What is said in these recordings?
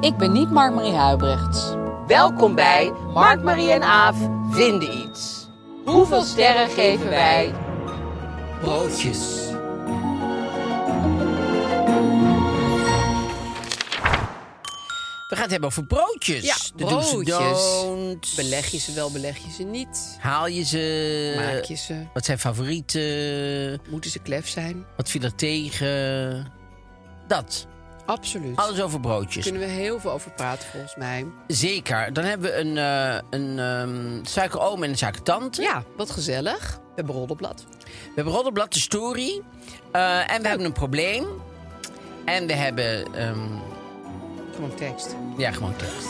Ik ben niet Mark-Marie Huibrechts. Welkom bij Mark, Marie en Aaf vinden iets. Hoeveel sterren geven wij? Broodjes. We gaan het hebben over broodjes. Ja, de do's en broodjes. don'ts. Beleg je ze wel, beleg je ze niet? Haal je ze? Maak je ze? Wat zijn favorieten? Moeten ze klef zijn? Wat viel er tegen? Dat. Absoluut. Alles over broodjes. Daar kunnen we heel veel over praten, volgens mij. Zeker. Dan hebben we een, eh een ehm, suikeroom en een suikertante. Ja, wat gezellig. We hebben roddelblad. We hebben Roddelblad, de story. Eh, en we hebben een probleem. En we hebben... ehm, Gewoon tekst. ja, gewoon tekst.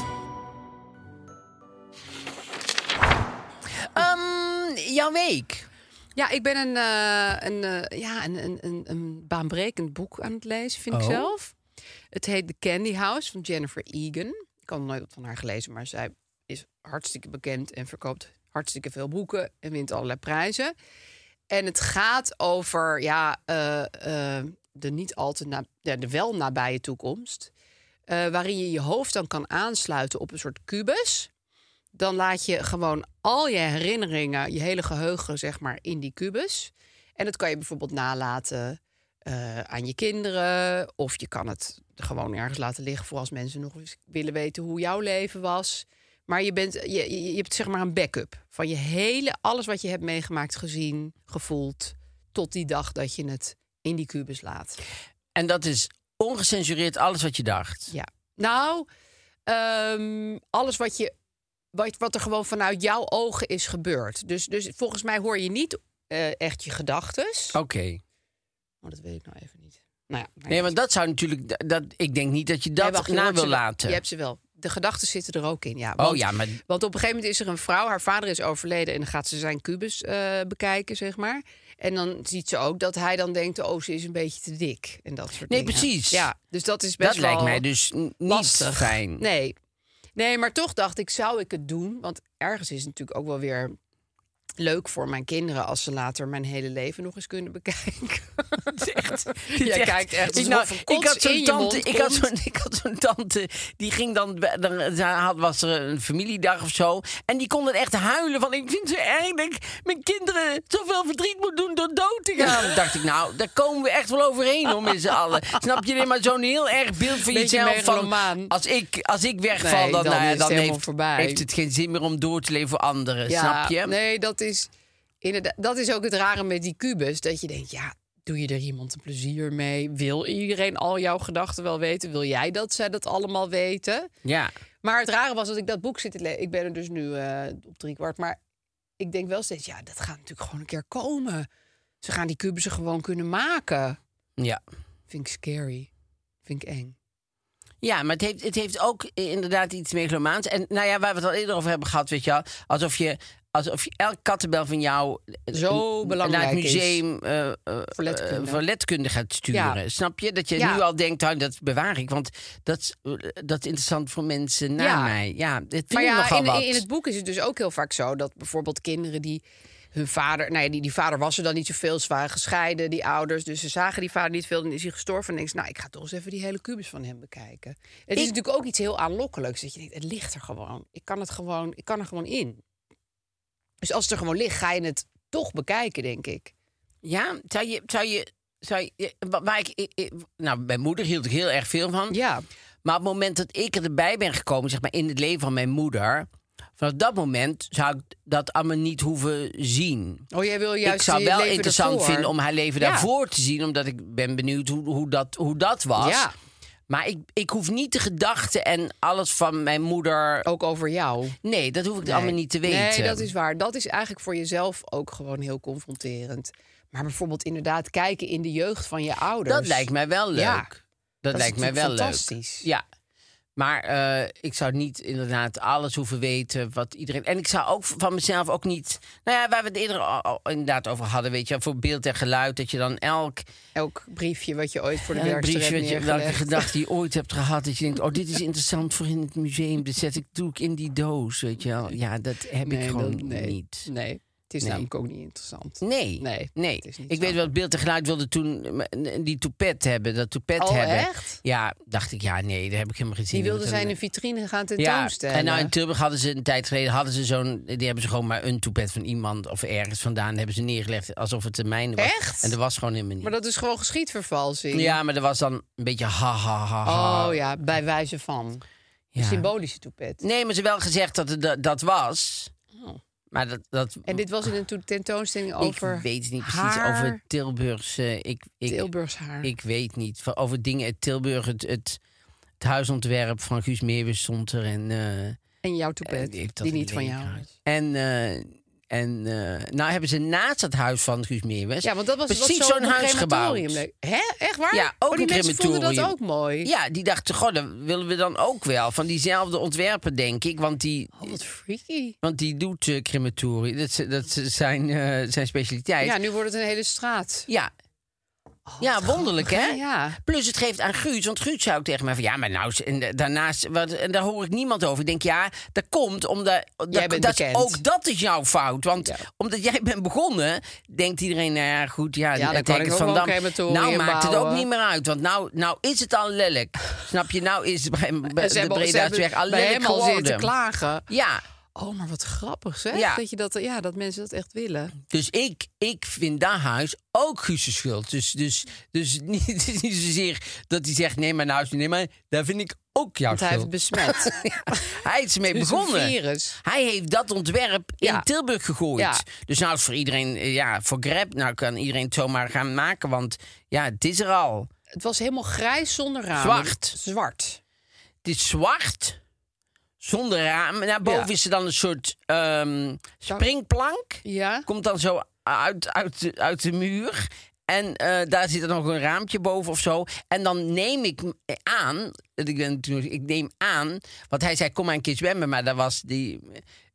Ehm, jouw week. Ja, ik ben een, eh, een, eh, ja, een, een, een, een baanbrekend boek aan het lezen, vind ik Oh. zelf. Het heet The Candy House van Jennifer Egan. Ik had nog nooit wat van haar gelezen, maar zij is hartstikke bekend en verkoopt hartstikke veel boeken en wint allerlei prijzen. En het gaat over ja, eh, eh, de niet al te na, ja, de wel nabije toekomst. eh, waarin je je hoofd dan kan aansluiten op een soort kubus dan laat je gewoon al je herinneringen, je hele geheugen, zeg maar, in die kubus. En dat kan je bijvoorbeeld nalaten eh, aan je kinderen. Of je kan het gewoon ergens laten liggen voor als mensen nog eens willen weten hoe jouw leven was. Maar je, bent, je- je, je hebt zeg maar een backup van je hele, alles wat je hebt meegemaakt, gezien, gevoeld, tot die dag dat je het in die kubus laat. En dat is ongecensureerd alles wat je dacht. Ja. Nou, ehm, alles wat je. Wat, wat er gewoon vanuit jouw ogen is gebeurd. Dus, dus volgens mij hoor je niet eh, echt je gedachten. Oké. Maar dat weet ik nou even niet. Nou ja, maar Nee, ja. want dat zou natuurlijk. dat- Dat, ik denk niet dat je dat Nee, wacht, je na hoort wil ze wel. laten. Je hebt ze wel. De gedachten zitten er ook in. Ja. Oh ja, maar- Want op een gegeven moment is er een vrouw, haar vader is overleden en dan gaat ze zijn kubus eh, bekijken, zeg maar. En dan ziet ze ook dat hij dan denkt: oh, ze is een beetje te dik. En dat soort Nee, dingen. precies. Ja, dus dat is best dat lijkt wel- mij dus n- niet lastig. fijn. Nee. nee, maar toch dacht ik, zou ik het doen? Want ergens is het natuurlijk ook wel weer leuk voor mijn kinderen... als ze later mijn hele leven nog eens kunnen bekijken. echt, Jij kijkt echt ik, alsof nou, er ik kots had in zo'n je tante, mond ik had komt. zo'n, ik had zo'n tante, die ging dan, bij- dan dan had, was er een familiedag of zo, en die kon dan echt huilen van, ik vind ze erg dat ik mijn kinderen zoveel verdriet moet doen door dood te gaan. Dan dacht ik, nou, daar komen we echt wel overheen om met z'n allen. Snap je? Nee, maar zo'n heel erg beeld van Beetje jezelf van, megalomaan. als ik, als ik wegval, Nee, dan, dan nou ja, is het dan helemaal heeft, voorbij. heeft het geen zin meer om door te leven voor anderen. snap je? Nee, dat is, inderdaad, dat is ook het rare met die kubus. Dat je denkt, ja, doe je er iemand een plezier mee? Wil iedereen al jouw gedachten wel weten? Wil jij dat zij dat allemaal weten? Ja. Maar het rare was dat ik dat boek zit te lezen. Ik ben er dus nu eh, op drie kwart. Maar ik denk wel steeds, ja, dat gaat natuurlijk gewoon een keer komen. Ze gaan die kubussen gewoon kunnen maken. Ja. Vind ik scary. Vind ik eng. Ja, maar het heeft, het heeft ook i- inderdaad iets megalomaans. En nou ja, waar we het al eerder over hebben gehad, weet je wel. Alsof je, alsof je elk kattenbel van jou... eh, Zo belangrijk Naar het is. museum eh, eh, Voor letterkunde. eh, voor letterkunde gaat sturen. Ja. Snap je? Dat je Ja. nu al denkt, oh, dat bewaar ik. Want dat, is, eh, dat is interessant voor mensen na Ja. mij. Ja, dit vind Maar ik ja, nogal in, wat. in het boek is het dus ook heel vaak zo dat bijvoorbeeld kinderen die hun vader, nou ja, die, die vader was er dan niet zoveel, ze waren gescheiden, die ouders, dus ze zagen die vader niet veel, dan is hij gestorven en denkt, ze, nou, ik ga toch eens even die hele kubus van hem bekijken. Het is Ik- natuurlijk ook iets heel aanlokkelijks dat je denkt, het ligt er gewoon, ik kan het gewoon, ik kan er gewoon in. Dus als het er gewoon ligt, ga je het toch bekijken, denk ik. Ja, zou je. Zou je, zou je wa- waar ik, ik- ik- nou, mijn moeder hield ik heel erg veel van. Ja. Maar op het moment dat ik erbij ben gekomen, zeg maar in het leven van mijn moeder. Vanaf dat moment zou ik dat allemaal niet hoeven zien. Oh, jij wil juist ik zou je wel leven interessant ervoor. vinden om haar leven Ja. daarvoor te zien. Omdat ik ben benieuwd hoe, hoe, dat, hoe dat was. Ja. Maar ik, ik hoef niet de gedachten en alles van mijn moeder. Ook over jou. Nee, dat hoef ik Oh. Nee. allemaal niet te weten. Nee, dat is waar. Dat is eigenlijk voor jezelf ook gewoon heel confronterend. Maar bijvoorbeeld inderdaad kijken in de jeugd van je ouders. Dat lijkt mij wel leuk. Dus Ja. Dat, is lijkt mij wel natuurlijk leuk. fantastisch. Ja. Maar eh, ik zou niet inderdaad alles hoeven weten wat iedereen. En ik zou ook van mezelf ook niet. Nou ja, waar we het eerder al- al inderdaad over hadden, weet je, wel, voor beeld en geluid, dat je dan elk Elk briefje wat je ooit voor de elk werkster briefje, hebt wat je, welke neergelegd. gedachte je ooit hebt gehad, dat je denkt, oh, dit is interessant voor in het museum, dit zet ik doe ik in die doos, weet je wel? Ja, dat heb ik Nee, gewoon dat- nee. niet. Nee, het is Nee. namelijk ook niet interessant. Nee, Nee, nee. het is niet Ik zo. weet wel, beeld en geluid wilde toen eh, die toepet hebben, dat toepet Oh, hebben. echt? Ja, dacht ik, ja, nee, daar heb ik helemaal geen zin Die wilde in. zijn in Want een vitrine gaan dan- ja, tentoonstellen. en nou in Tilburg hadden ze een tijd geleden hadden ze zo'n, die hebben ze gewoon maar een toepet van iemand of ergens vandaan hebben ze neergelegd alsof het de mijne was. Echt? En er was gewoon helemaal niet. Maar dat is gewoon geschiedvervalsing. Ja, maar er was dan een beetje ha ha ha. ha. Oh ja, bij wijze van. Een Ja. symbolische toepet. Nee, maar ze wel gezegd dat het da- dat was. Maar dat, dat Oh. En dit was in een to- tentoonstelling over ik weet niet precies haar, over Tilburgse. Ik, ik, Tilburgs haar. Ik weet niet. Van- Over dingen uit Tilburg. Het, het, het huisontwerp van Guus Meeuwis stond er. En, eh, en jouw eh, toepet, die heeft dat die in niet van Leeuwarden jou gehouden. is. En, eh, en eh, nou hebben ze naast het huis van Guus Meeuwis... Ja, want dat was precies wat zo'n op een huis crematorium gebouwd. leek. Hè? Echt waar? Ja, ook oh, die een mensen vonden dat ook crematorium. mooi. Ja, die dachten, god, dat willen we dan ook wel. Van diezelfde ontwerper, denk ik. Want die, Oh, wat freaky. want die doet eh, crematorium. Dat, is- dat is zijn, eh, zijn specialiteit. Ja, nu wordt het een hele straat. Ja. ja, wonderlijk, hè? Oh, Ja. Plus het geeft aan Guus, want Guus zou ook tegen mij van... ja, maar nou, en da- daarnaast, wat, en daar hoor ik niemand over. Ik denk, ja, dat komt omdat... Jij dat- bent dat, bekend. Ook dat is jouw fout, want Ja. omdat jij bent begonnen... denkt iedereen, nou ja, goed, ja, Ja, dan het kan Hekkers van ik ook wel Dam, een crematorium Nou maakt het ook bouwen. niet meer uit, want nou, nou is het al lelijk. Snap je, nou is bij, bij En ze de hebben, ze hebben Breda's weg al bij lelijk hem al zitten geworden. klagen. Ja, Oh, maar wat grappig, zeg. Ja. Dat, je dat, ja, dat mensen dat echt willen. dus ik, ik vind dat huis ook Guus' schuld. Dus, dus, dus niet, het is niet zozeer dat hij zegt, nee, maar nou, nee, maar daar vind ik ook jouw Want hij heeft schuld. besmet. Hij is ermee Het is een begonnen. virus. Hij heeft dat ontwerp in Ja. Tilburg gegooid. Ja. Dus nou is voor iedereen, eh, ja, voor Grab, nou kan iedereen het zomaar gaan maken. Want ja, het is er al. Het was helemaal grijs zonder ramen. Zwart. Zwart. Het is zwart, zonder raam. Daarboven Ja. is er dan een soort ehm, springplank. Ja. Komt dan zo uit, uit, de- uit de muur. En eh, daar zit er nog een raampje boven of zo. En dan neem ik m- aan, dat ik, ben, toen- ik neem aan, want hij zei: Kom maar een keer zwemmen. Maar daar was die.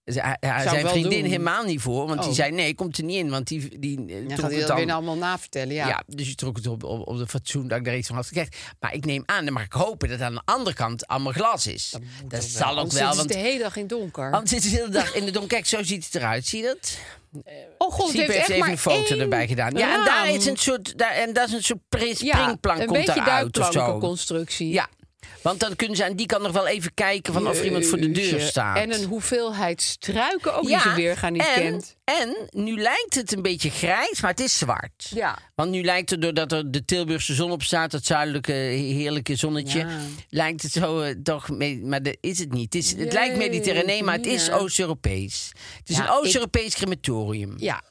z- hij- hij- ik zijn wel vriendin doen. helemaal niet voor. Want die Oh. zei: Nee, komt er niet in. Want die, die eh, Dan trok gaat hij het dat dan. weer nou allemaal navertellen. ja. Ja. dus je trok het op, op, op de fatsoen dat ik daar iets van had gekregen. Maar ik neem aan, dan mag ik hopen dat aan de andere kant allemaal glas is. Dat, zal ook Anders wel. zitten ze Want de hele dag in het donker. anders zit de hele dag in de donker. Kijk, zo ziet het eruit. Zie je dat? oh god, het Siep heeft heeft echt even maar een foto één erbij gedaan. Ja, en raam. daar is een soort, daar, en dat is een soort pri- Ja, springplank een komt beetje eruit of zo. duikplankenconstructie. Ja, want dan kunnen ze aan die kant nog wel even kijken van of er iemand voor de deur Jeetje. staat. Eh, En een hoeveelheid struiken ook Ja, die ze weer gaan niet en, kent. En nu lijkt het een beetje grijs, maar het is zwart. Ja. Want nu lijkt het, doordat er de Tilburgse zon op staat, dat zuidelijke heerlijke zonnetje, Ja. lijkt het zo eh, toch, mee, maar dat is het niet. Het, is, het lijkt Mediterranee, maar het is Jeetje, Mina. Oost-Europees. Het is Ja, een Oost-Europees crematorium. Ja,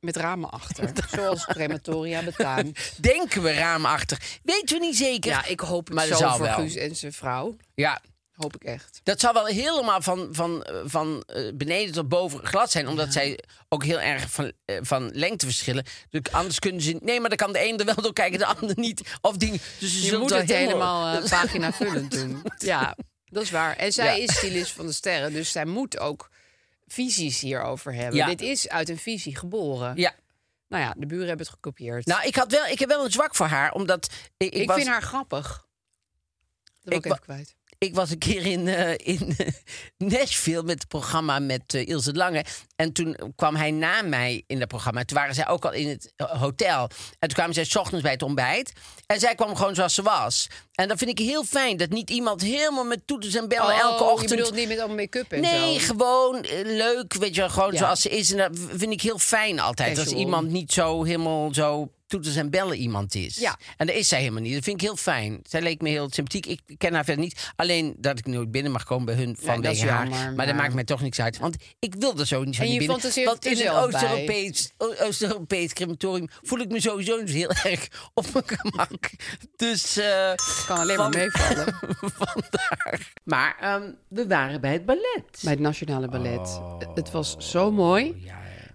met ramen achter. Zoals crematoria betaamt. Denken we raamachtig. Weten we niet zeker. Ja, ik hoop het maar dat zo zal voor wel. Guus en zijn vrouw. Ja. Hoop ik echt. Dat zal wel helemaal van, van, eh, van eh, beneden tot boven glad zijn. Omdat zij ook heel erg van, eh, van lengte verschillen. Dus anders kunnen ze... Nee, maar dan kan de een er wel door kijken, de ander niet. Of die, dus ze Je zullen moet wel het helemaal eh, paginavullend doen. Ja, dat is waar. En zij Ja. is stylist van de sterren, dus zij moet ook visies hierover hebben. Ja. Dit is uit een visie geboren. Ja. Nou ja, de buren hebben het gekopieerd. Nou, ik, had wel, ik heb wel een zwak voor haar. Omdat ik, ik ik was, vind haar grappig. Dat Ik wil ik, wa- even kwijt. Ik was een keer in, eh, in eh, Nashville met het programma met eh, Ilse de Lange. En toen kwam hij na mij in dat programma. Toen waren zij ook al in het eh, hotel. En toen kwamen zij 's ochtends bij het ontbijt. En zij kwam gewoon zoals ze was. En dat vind ik heel fijn. Dat niet iemand helemaal met toeters en bellen Oh, elke ochtend... Oh, Je bedoelt niet met allemaal make-up en zo? Nee, gewoon eh, leuk, weet je wel, gewoon Ja. zoals ze is. En dat v- vind ik heel fijn altijd, als Casual. iemand niet zo helemaal zo toeters en bellen iemand is. Ja. En dat is zij helemaal niet. Dat vind ik heel fijn. Zij leek me heel sympathiek. Ik ken haar verder niet. Alleen dat ik nooit binnen mag komen bij hun dat vanwege is haar. jammer, maar, dat maar- maakt mij toch niks uit. Want ik wil er zo niet zo En niet je binnen. fantaseert want in er een zelf bij. Oost-Europees Oost crematorium voel ik me sowieso niet heel erg op mijn gemak. Dus... eh, kan alleen maar van- meevallen. Vandaar. Maar ehm, we waren bij het ballet. Bij het Nationale Ballet. Oh. Het was zo mooi.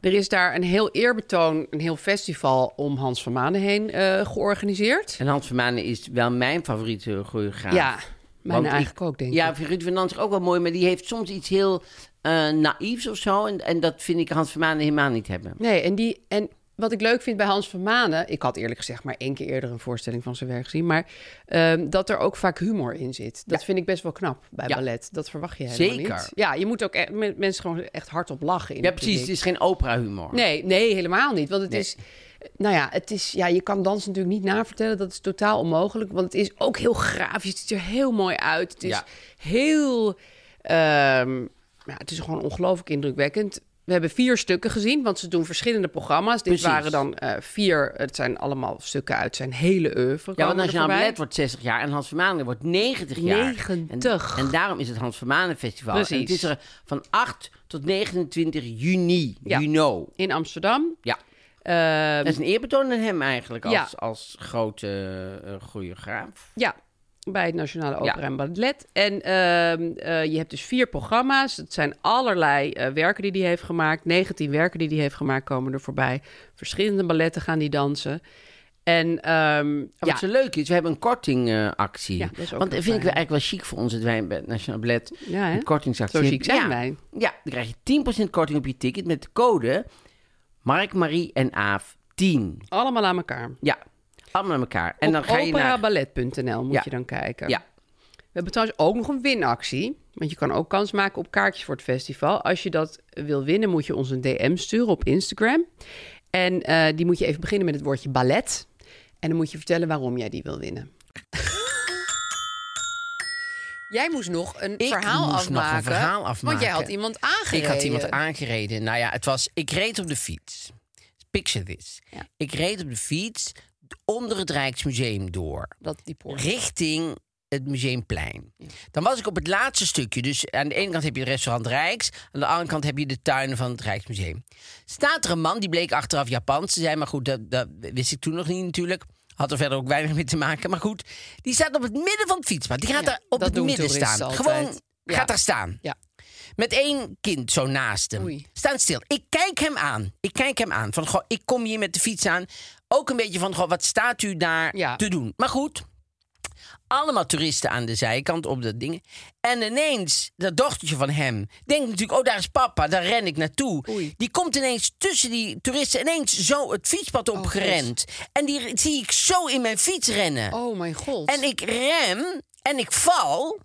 Er is daar een heel eerbetoon, een heel festival om Hans van Manen heen eh, georganiseerd. En Hans Vermanen is wel mijn favoriete choreograaf. Ja, mijn Want ik- eigenlijk ook, denk ik. Ja, Ruud van Nant is ook wel mooi, maar die heeft soms iets heel eh naïefs of zo. En, en dat vind ik Hans Vermanen helemaal niet hebben. Nee, en, die, en wat ik leuk vind bij Hans van Manen... Ik had eerlijk gezegd maar één keer eerder een voorstelling van zijn werk gezien... maar ehm, dat er ook vaak humor in zit. Dat vind ik best wel knap bij Ja. ballet. Dat verwacht je helemaal Zeker. niet. Ja, je moet ook e- met mensen gewoon echt hardop lachen. In Ja, het precies. Het publiek. is geen opera-humor. Nee, nee, helemaal niet. Want het Nee. is... Nou ja, het is, ja, je kan dans natuurlijk niet navertellen. Dat is totaal onmogelijk. Want het is ook heel grafisch. Het ziet er heel mooi uit. Het is Ja. heel... ehm, ja, het is gewoon ongelooflijk indrukwekkend. We hebben vier stukken gezien, want ze doen verschillende programma's. Dit Precies. waren dan eh, vier. Het zijn allemaal stukken uit zijn hele oeuvre. Ja, komen want er Nationaal voorbij. Ballet wordt 60 jaar en Hans Vermanen wordt 90 jaar. 90. En, en daarom is het Hans Vermanen Festival. Precies. En het is er van 8 tot 29 juni. Ja. You know. In Amsterdam. Ja. Ehm, Dat is een eerbetoon aan hem eigenlijk als, Ja. als grote eh, choreograaf. Ja, bij het Nationale Opera Ja. en Ballet. En ehm, eh, je hebt dus vier programma's. Het zijn allerlei eh, werken die hij heeft gemaakt. 19 werken die hij heeft gemaakt komen er voorbij. Verschillende balletten gaan die dansen. En ehm, Ja, ja, Wat zo leuk is, we hebben een kortingactie. Ja, dat is ook Want dat heel vind ik wel fijn. eigenlijk wel chic voor ons dat wij bij het Nationaal Ballet Ja, hè? een kortingsactie Zo chic hebben. zijn ja. wij. Ja, dan krijg je 10% korting op je ticket met de code Mark, Marie en Aaf 10. allemaal aan elkaar. Ja, allemaal aan elkaar. En Op dan ga je naar... operaballet.nl moet Ja. je dan kijken. Ja, We hebben trouwens ook nog een winactie. Want je kan ook kans maken op kaartjes voor het festival. Als je dat wil winnen, moet je ons een DM sturen op Instagram. En eh, die moet je even beginnen met het woordje ballet. En dan moet je vertellen waarom jij die wil winnen. Jij moest nog een Ik verhaal moest nog een afmaken. verhaal Want jij had afmaken. iemand aangereden. Ik had iemand aangereden. Nou ja, het was. Ik reed op de fiets. Picture this. Ja. Ik reed op de fiets onder het Rijksmuseum door. Dat die poort. Richting het Museumplein. Dan was ik op het laatste stukje. Dus aan de ene kant heb je het restaurant Rijks. Aan de andere kant heb je de tuinen van het Rijksmuseum. Staat er een man, die bleek achteraf Japans te zijn. Maar goed, dat, dat wist ik toen nog niet natuurlijk. Had er verder ook weinig mee te maken. Maar goed, die staat op het midden van het fietspad. Die gaat Ja, daar op dat het doen midden toeristen staan. altijd. Gewoon Ja. gaat daar staan. Ja. Met één kind zo naast hem. Oei. Staan stil. Ik kijk hem aan. Ik kijk hem aan. Van, goh, ik kom hier met de fiets aan. Ook een beetje van, goh, wat staat u daar Ja. te doen? Maar goed, allemaal toeristen aan de zijkant op dat ding. En ineens, dat dochtertje van hem denkt natuurlijk, oh, daar is papa, daar ren ik naartoe. Oei. Die komt ineens tussen die toeristen ineens zo het fietspad Oh, opgerend. en die zie ik zo in mijn fiets rennen. Oh mijn god. En ik rem en ik val.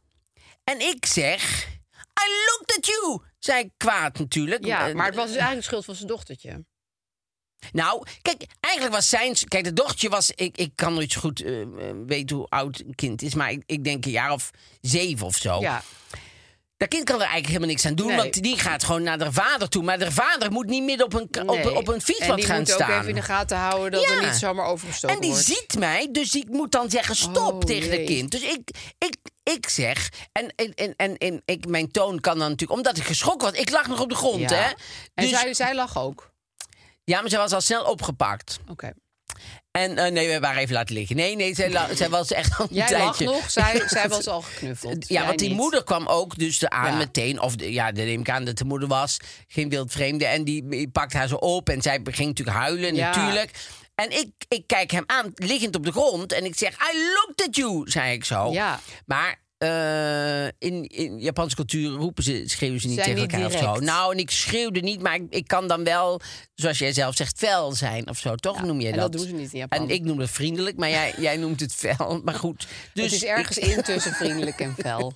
En ik zeg, I looked at you, zei ik kwaad natuurlijk. ja, Eh, maar het was dus eigenlijk de schuld van zijn dochtertje. nou, kijk, eigenlijk was zijn... Kijk, de dochtertje was... Ik, ik kan nooit zo goed eh, eh, weten hoe oud een kind is... maar ik, ik denk een jaar of zeven of zo. Ja, Dat kind kan er eigenlijk helemaal niks aan doen... Nee. want die gaat gewoon naar haar vader toe. Maar haar vader moet niet midden op een, k- nee. op, op een En fietspad die gaan moet staan. ook even in de gaten houden dat er Ja. niet zomaar overgestoken En die wordt. ziet mij, dus ik moet dan zeggen stop Oh, tegen jee. het kind. Dus ik, ik, ik zeg, en, en, en, en, en ik, mijn toon kan dan natuurlijk... omdat ik geschrokken was, ik lag nog op de grond, Ja. hè. En Dus, zij, zij lag ook. Ja, maar ze was al snel opgepakt. Oké. En eh, nee, we hebben haar even laten liggen. Nee, nee, zij, la- zij was echt al een Jij lag tijdje... nog, zij, zij was al geknuffeld. Ja, Jij want die niet. moeder kwam ook dus aan Ja. meteen. Of de- ja, dan neem ik aan dat de moeder was. Geen wild vreemde. En die, die pakte haar zo op. En zij ging natuurlijk huilen, Ja. natuurlijk. En ik, ik kijk hem aan, liggend op de grond. En ik zeg, I looked at you, zei ik zo. Ja. Maar eh, in, in Japanse cultuur roepen ze, schreeuwen ze niet Zijn tegen niet elkaar of zo. direct. Nou, en ik schreeuwde niet, maar ik, ik kan dan wel, zoals jij zelf zegt, fel zijn of zo. Toch noem je en dat? dat doen ze niet in Japan. En ik noem het vriendelijk, maar jij, jij noemt het fel. Maar goed. Dus het is ergens ik- in tussen vriendelijk en fel.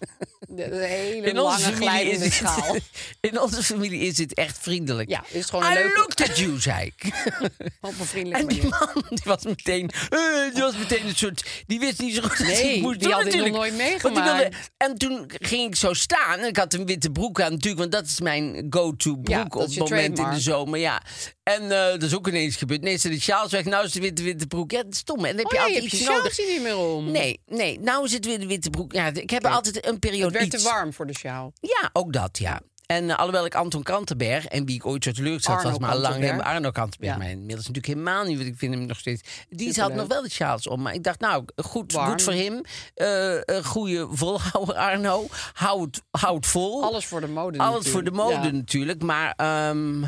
De, de hele in lange onze familie glijdende is schaal. het, In onze familie is het echt vriendelijk. Ja, is het gewoon een I leuke- looked at you, zei ik. Op een vriendelijke En die manier. man die was meteen, eh, die was meteen een soort, die wist niet zo goed wat Nee, hij moest die doen had dit nog natuurlijk. nooit Want die meegemaakt. en toen ging ik zo staan en ik had een witte broek aan natuurlijk, want dat is mijn go-to broek Ja, op dat is het je moment in de trademark. zomer. Ja. En eh, dat is ook ineens gebeurd. Nee, ze de sjaals weg, nou is de witte, witte broek. Ja, dat is stom. hè. En dan heb Oh je altijd nee, heb je iets sjaal nodig. zie je niet meer om. Nee, nee, nou is het weer de witte broek. Ja, ik heb altijd een periode Het werd iets. te warm voor de sjaal. Ja, ook dat, ja. En eh, alhoewel ik Anton Kantenberg, en wie ik ooit zo teleurgesteld Arno was, maar lang Kantenberg. helemaal Arno Kantenberg, Ja. maar inmiddels natuurlijk helemaal niet, want ik vind hem nog steeds... Die had Superleuk. nog wel de sjaals om, maar ik dacht, nou, goed, Warm. goed voor hem. eh eh, goeie volhouder Arno, hou het, hou het vol. Alles voor de mode Alles voor de natuurlijk. mode Ja. natuurlijk, maar... ehm,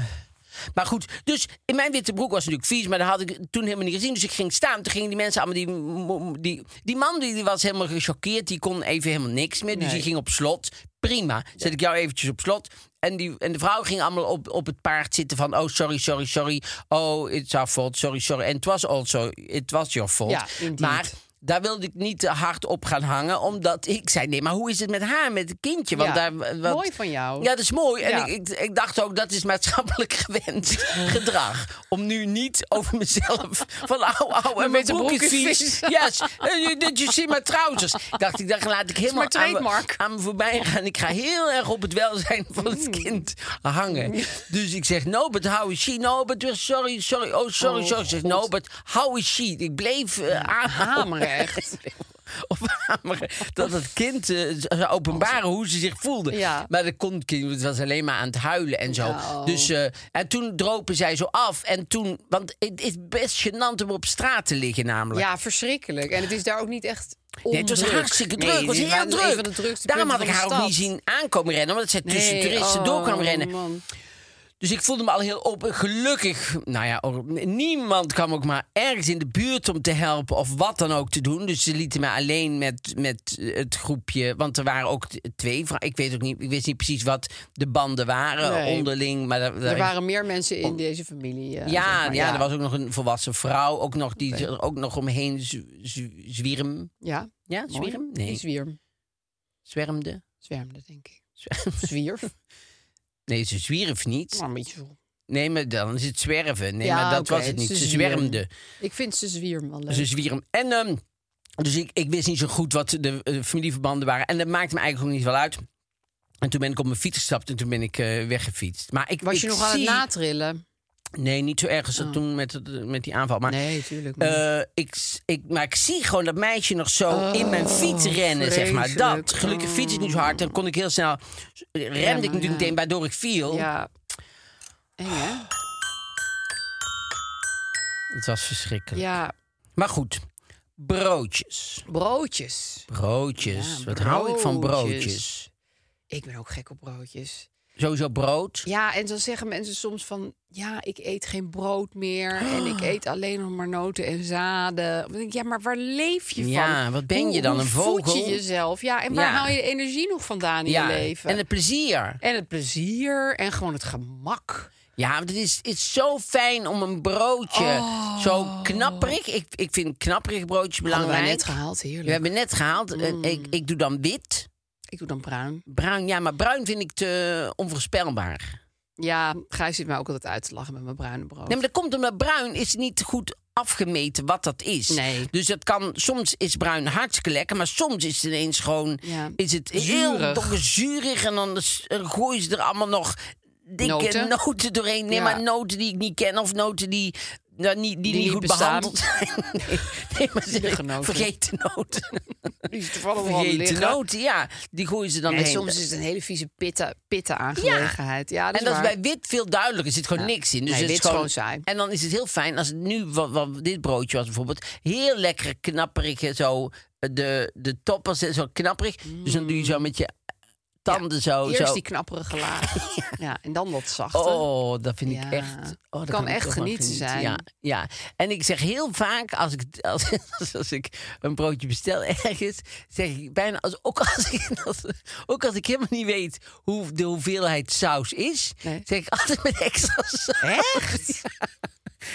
maar goed, dus in mijn witte broek was natuurlijk vies, maar dat had ik toen helemaal niet gezien. Dus ik ging staan. Toen gingen die mensen allemaal die. mo- Die, die man die, die was helemaal gechoqueerd, die kon even helemaal niks meer. Dus die ging op slot. Prima. Zet ik jou eventjes op slot. En, die, en de vrouw ging allemaal op, op het paard zitten van... oh, sorry, sorry, sorry. Oh, it's our fault, sorry, sorry. En het was also, it was your fault. Ja, indeed. maar daar wilde ik niet te hard op gaan hangen. Omdat ik zei, nee, maar hoe is het met haar, met het kindje? Want Ja, daar, want- mooi van jou. Ja, dat is mooi. En Ja. ik, ik, ik dacht ook, dat is maatschappelijk gewend gedrag. Om nu niet over mezelf van au, au, en mijn witte broek broek is is vies. vies. Yes, eh, you- did you see my trousers? Dacht ik, dan laat ik helemaal maar aan, me- trademark. aan me voorbij gaan. Ik ga heel erg op het welzijn van het Mm. kind hangen. Dus ik zeg, no, but how is she? No, but we're sorry, sorry. Oh, sorry, sorry. Ik zeg, no, but how is she? Ik bleef eh, aanhouden Hameren echt. op hameren. Dat het kind eh, zou openbaren hoe ze zich voelde. Ja. oh. Maar dat kon het kind, want het was alleen maar aan het huilen en zo. Dus, eh, en toen dropen zij zo af. En toen, want het is best gênant om op straat te liggen namelijk. Ja, verschrikkelijk. En het is daar ook niet echt Nee, het was ondruk. hartstikke druk. Nee, het was dit heel waren druk. Een van de drukste Daarom had ik punten haar van de ook niet stad. zien aankomen rennen. Omdat ze tussen Nee, toeristen oh, door kwam rennen. man. Dus ik voelde me al heel op. Gelukkig, nou ja, or- niemand kwam ook maar ergens in de buurt om te helpen of wat dan ook te doen. Dus ze lieten me alleen met, met het groepje. Want er waren ook t- twee vrouwen. Ik weet ook niet, ik wist niet precies wat de banden waren Nee. onderling. Maar daar, Er daar- waren meer mensen in deze familie. eh, Oh. ja, zeg maar. ja, er was ook nog een volwassen vrouw. Ook nog, die er ook nog omheen z- z- zwierm. Ja, Ja, mooi. zwierm? Die Nee, zwierm. zwermde. Zwermde, denk ik. Zwierf. Nee, ze zwierf niet. Maar Nou, een beetje zo. Nee, maar dan is het zwerven. Nee, Oh. Ja, maar dat oké, was het niet. ze Ze, zwierm. zwermde. Ik vind ze zwierm wel leuk. Dus Ze zwierm. En ehm, dus ik, ik wist niet zo goed wat de eh, familieverbanden waren. En dat maakte me eigenlijk ook niet wel uit. En toen ben ik op mijn fiets gestapt en toen ben ik eh, weggefietst. Maar ik was je ik nog aan zie- het natrillen? Nee, niet zo erg als dat toen met, het- eh, met die aanval. Maar, Nee, tuurlijk niet. eh, ik, s- ik, maar ik zie gewoon dat meisje nog zo in mijn fiets rennen, zeg maar. Oh, vreselijk. Dat. Gelukkig fiets ik niet zo hard. Dan kon ik heel snel... Remde ik natuurlijk ja. meteen, waardoor ik viel. Ja. oh. Eng, Ah, hè? Het was verschrikkelijk. Ja, Maar goed, broodjes. broodjes. Broodjes. Ja, Dus Wat hou ik van broodjes? broodjes. Ik ben ook gek op broodjes. Sowieso brood. Ja, en dan zeggen mensen soms van... ja, ik eet geen brood meer en ik eet alleen nog maar noten en zaden. Dan denk ik, ja, maar waar leef je Ja, van? wat ben je Hoe- dan, hoe een vogel? voed je jezelf? Ja, en waar Ja. haal je de energie nog vandaan in Ja, je leven? En het plezier. En het plezier en gewoon het gemak. Ja, want het is, het is zo fijn om een broodje. Zo knapperig. Ik, ik vind knapperig broodjes Oh. Hadden wij belangrijk. net gehaald, Mm. heerlijk. We hebben net gehaald. En Ik, ik doe dan wit. Ik doe dan bruin. Bruin, ja, maar bruin vind ik te onvoorspelbaar. Ja, Gijs zit mij ook altijd uit te lachen met mijn bruine brood. Nee, maar dat komt omdat bruin is niet goed afgemeten wat dat is. Nee. Dus dat kan, soms is bruin hartstikke lekker, maar soms is het ineens gewoon, Ja. is het heel Zuurig. dokke zuurig en dan s- eh, gooien ze er allemaal nog dikke noten, Noten. doorheen. Nee, Ja. maar noten die ik niet ken of noten die, nou, niet, die, Die niet niet goed bestaan. behandeld zijn. Nee, nee maar Zielige ze, noten. vergeten noten. Die is toevallig wel Vergeten liggen. noten, ja. Die gooien ze dan En heen. soms is het een hele vieze pitte, pitte aangelegenheid. Ja, dat en is dat is waar. bij wit veel duidelijker. Er zit gewoon niks in. Dus Nee, het wit is is gewoon, gewoon saai. En dan is het heel fijn als het nu, wat, wat dit broodje was bijvoorbeeld, heel lekker eh, knapperig. hè, Zo, de, de toppers hè, zo knapperig. Dus dan doe je zo met je tanden zo. Eerst zo. die knapperige laag. ja. en dan dat zachte. Oh, dat vind ik Ja. echt. Oh, daar Kan ik echt heel van genieten zijn. Ja, ja, en ik zeg heel vaak als ik, als, als ik een broodje bestel ergens, zeg ik bijna, als, ook, als ik, als- ook als ik helemaal niet weet hoe de hoeveelheid saus is, Nee. zeg ik altijd met extra saus. Echt?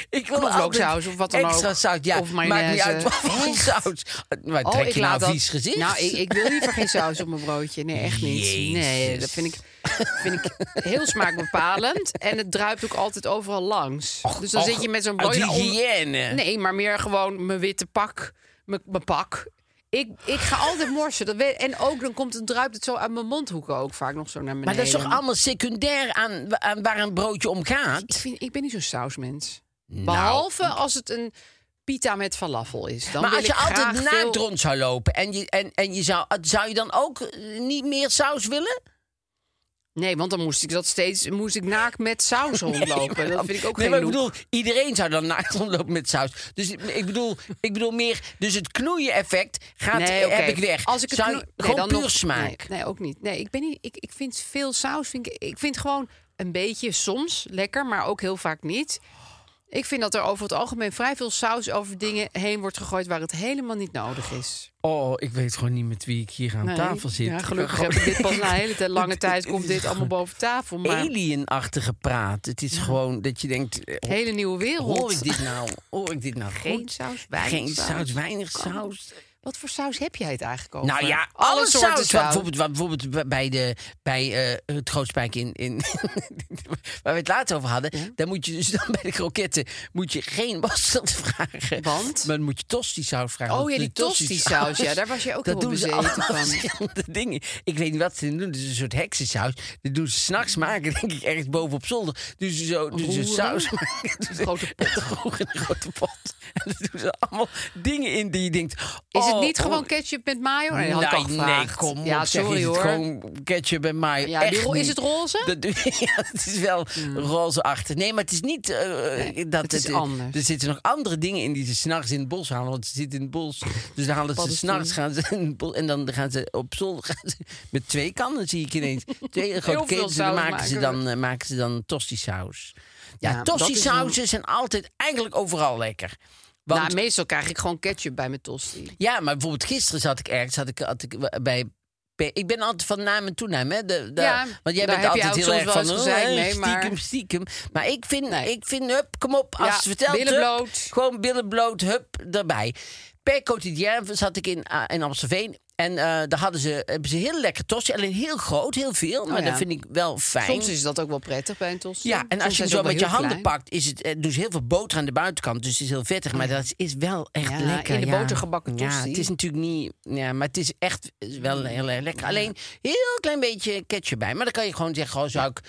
Ik wil Knoflooksaus altijd of wat dan ook. extra saus, ja. Of Maakt niet mayonaise. uit wat voor saus. Maar trek je nou een Oh, dat- vies gezicht? Nou, ik, ik wil liever geen saus op mijn broodje. Nee, echt niet. Nee, Jezus. dat vind ik, vind ik heel smaakbepalend. En het druipt ook altijd overal langs. dus dan Och, zit je met zo'n uit broodje... on- hygiëne. Nee, maar meer gewoon mijn witte pak. Mijn mijn pak. Ik, ik ga altijd morsen. Dat weet, en ook dan komt het, druipt het zo uit mijn mondhoeken ook vaak nog zo naar beneden. Maar dat is toch allemaal secundair aan, aan waar een broodje om gaat? Ik, vind, ik ben niet zo'n sausmens. Behalve als het een pita met falafel is. Dan maar wil als je ik altijd graag naakt veel... rond zou lopen en je, en, en je zou, zou je dan ook eh, niet meer saus willen? Nee, want dan moest ik dat steeds moest ik naakt met saus rondlopen. dat vind ik ook nee, geen maar ik bedoel, look. iedereen zou dan naakt rondlopen met saus. Dus ik- ik bedoel, ik bedoel meer, dus het knoeien-effect gaat, Nee, eh, oké. heb ik weg. Als ik het zou, knoe- nee, gewoon dan puur nog- smaak. Nee, nee, ook niet. Nee, ik ben niet. Ik, ik vind veel saus. Vind ik, ik vind gewoon een beetje soms lekker, maar ook heel vaak niet. Ik vind dat er over het algemeen vrij veel saus over dingen heen wordt gegooid waar het helemaal niet nodig is. Oh, ik weet gewoon niet met wie ik hier aan Nee. tafel zit. Ja, gelukkig Gewoon- heb ik dit pas na een hele tijd- lange tijd Het komt is dit allemaal boven tafel. Maar Alienachtige praat. Het is gewoon dat je denkt, eh, hele nieuwe wereld. hoor ik dit nou, hoor ik dit nou Geen goed? saus, weinig Geen saus. saus, weinig Kan. saus. Wat voor saus heb jij het eigenlijk over? Nou ja, alle, soorten saus. Wat bijvoorbeeld, wat bijvoorbeeld b- bij, de, bij eh, het grootspijk in, in waar we het laatst over hadden, dan moet je dus dan bij de kroketten moet je geen mosterd vragen. Want? Maar dan moet je tostisaus vragen. Oh want ja, de die tostisaus. Ja, daar was je ook dat heel doen ze bezeten allemaal van. verschillende dingen. Ik weet niet wat ze doen. Het is een soort heksensaus. Dat doen ze s'nachts maken, denk ik, ergens boven op zolder. Dus ze zo, doen ze Roeren? saus maken. Doen ze- Grote Roeren in een grote pot. En dan doen ze allemaal dingen in die je denkt... Is het oh, niet oh. gewoon ketchup met mayo? Nee, had ik al Nee, nee, gevraagd. kom op. Ja, zeg, sorry is het hoor. gewoon ketchup en mayo. Ja, Echt die ro- is niet. het roze? Hmm. Dat, ja, het is wel rozeachtig. Nee, maar het is niet... eh, dat, het is eh, anders. Er zitten nog andere dingen in die ze s'nachts in het bos halen. Want ze zitten in het bos. Dus dan halen ze Paddenstoelen. s'nachts... gaan ze in het bos- En dan gaan ze op zolder gaan ze met twee kannen, zie ik ineens. Twee grote veel ketens. En dan saus maken ze maken. dan, eh, maken ze dan tostisaus. Ja, Ja, dat is tostisausen zijn altijd eigenlijk overal lekker. Want Nou, meestal krijg ik gewoon ketchup bij mijn tosti. ja, maar bijvoorbeeld gisteren zat ik ergens, had ik, had ik bij. bij- Ik ben altijd van naam en toenaam, hè? De, de- Ja, want jij daar bent heb altijd je ook heel soms erg wel van eens oh, gezeik mee, stiekem, maar- stiekem. Maar ik vind, ik vind, hup, kom op, als Ja, het vertelt, billen hup, bloot. gewoon billen bloot, hup, erbij. Per quotidien zat ik in, ah, in Amstelveen en eh, daar hadden ze, hebben ze heel lekker tosti, alleen heel groot, heel veel, maar Oh ja. dat vind ik wel fijn. Soms is dat ook wel prettig bij een tosti. Ja, en Soms als je hem zijn ze zo ook wel met je heel handen klein. pakt, is het eh, doen ze heel veel boter aan de buitenkant. Dus het is heel vettig. Maar dat is wel echt Ja, lekker. in de ja. boter gebakken Ja, tosti. het is natuurlijk niet. Ja, maar het is echt wel heel erg lekker. Alleen heel klein beetje ketchup bij. Maar dan kan je gewoon zeggen: gewoon, zou ik.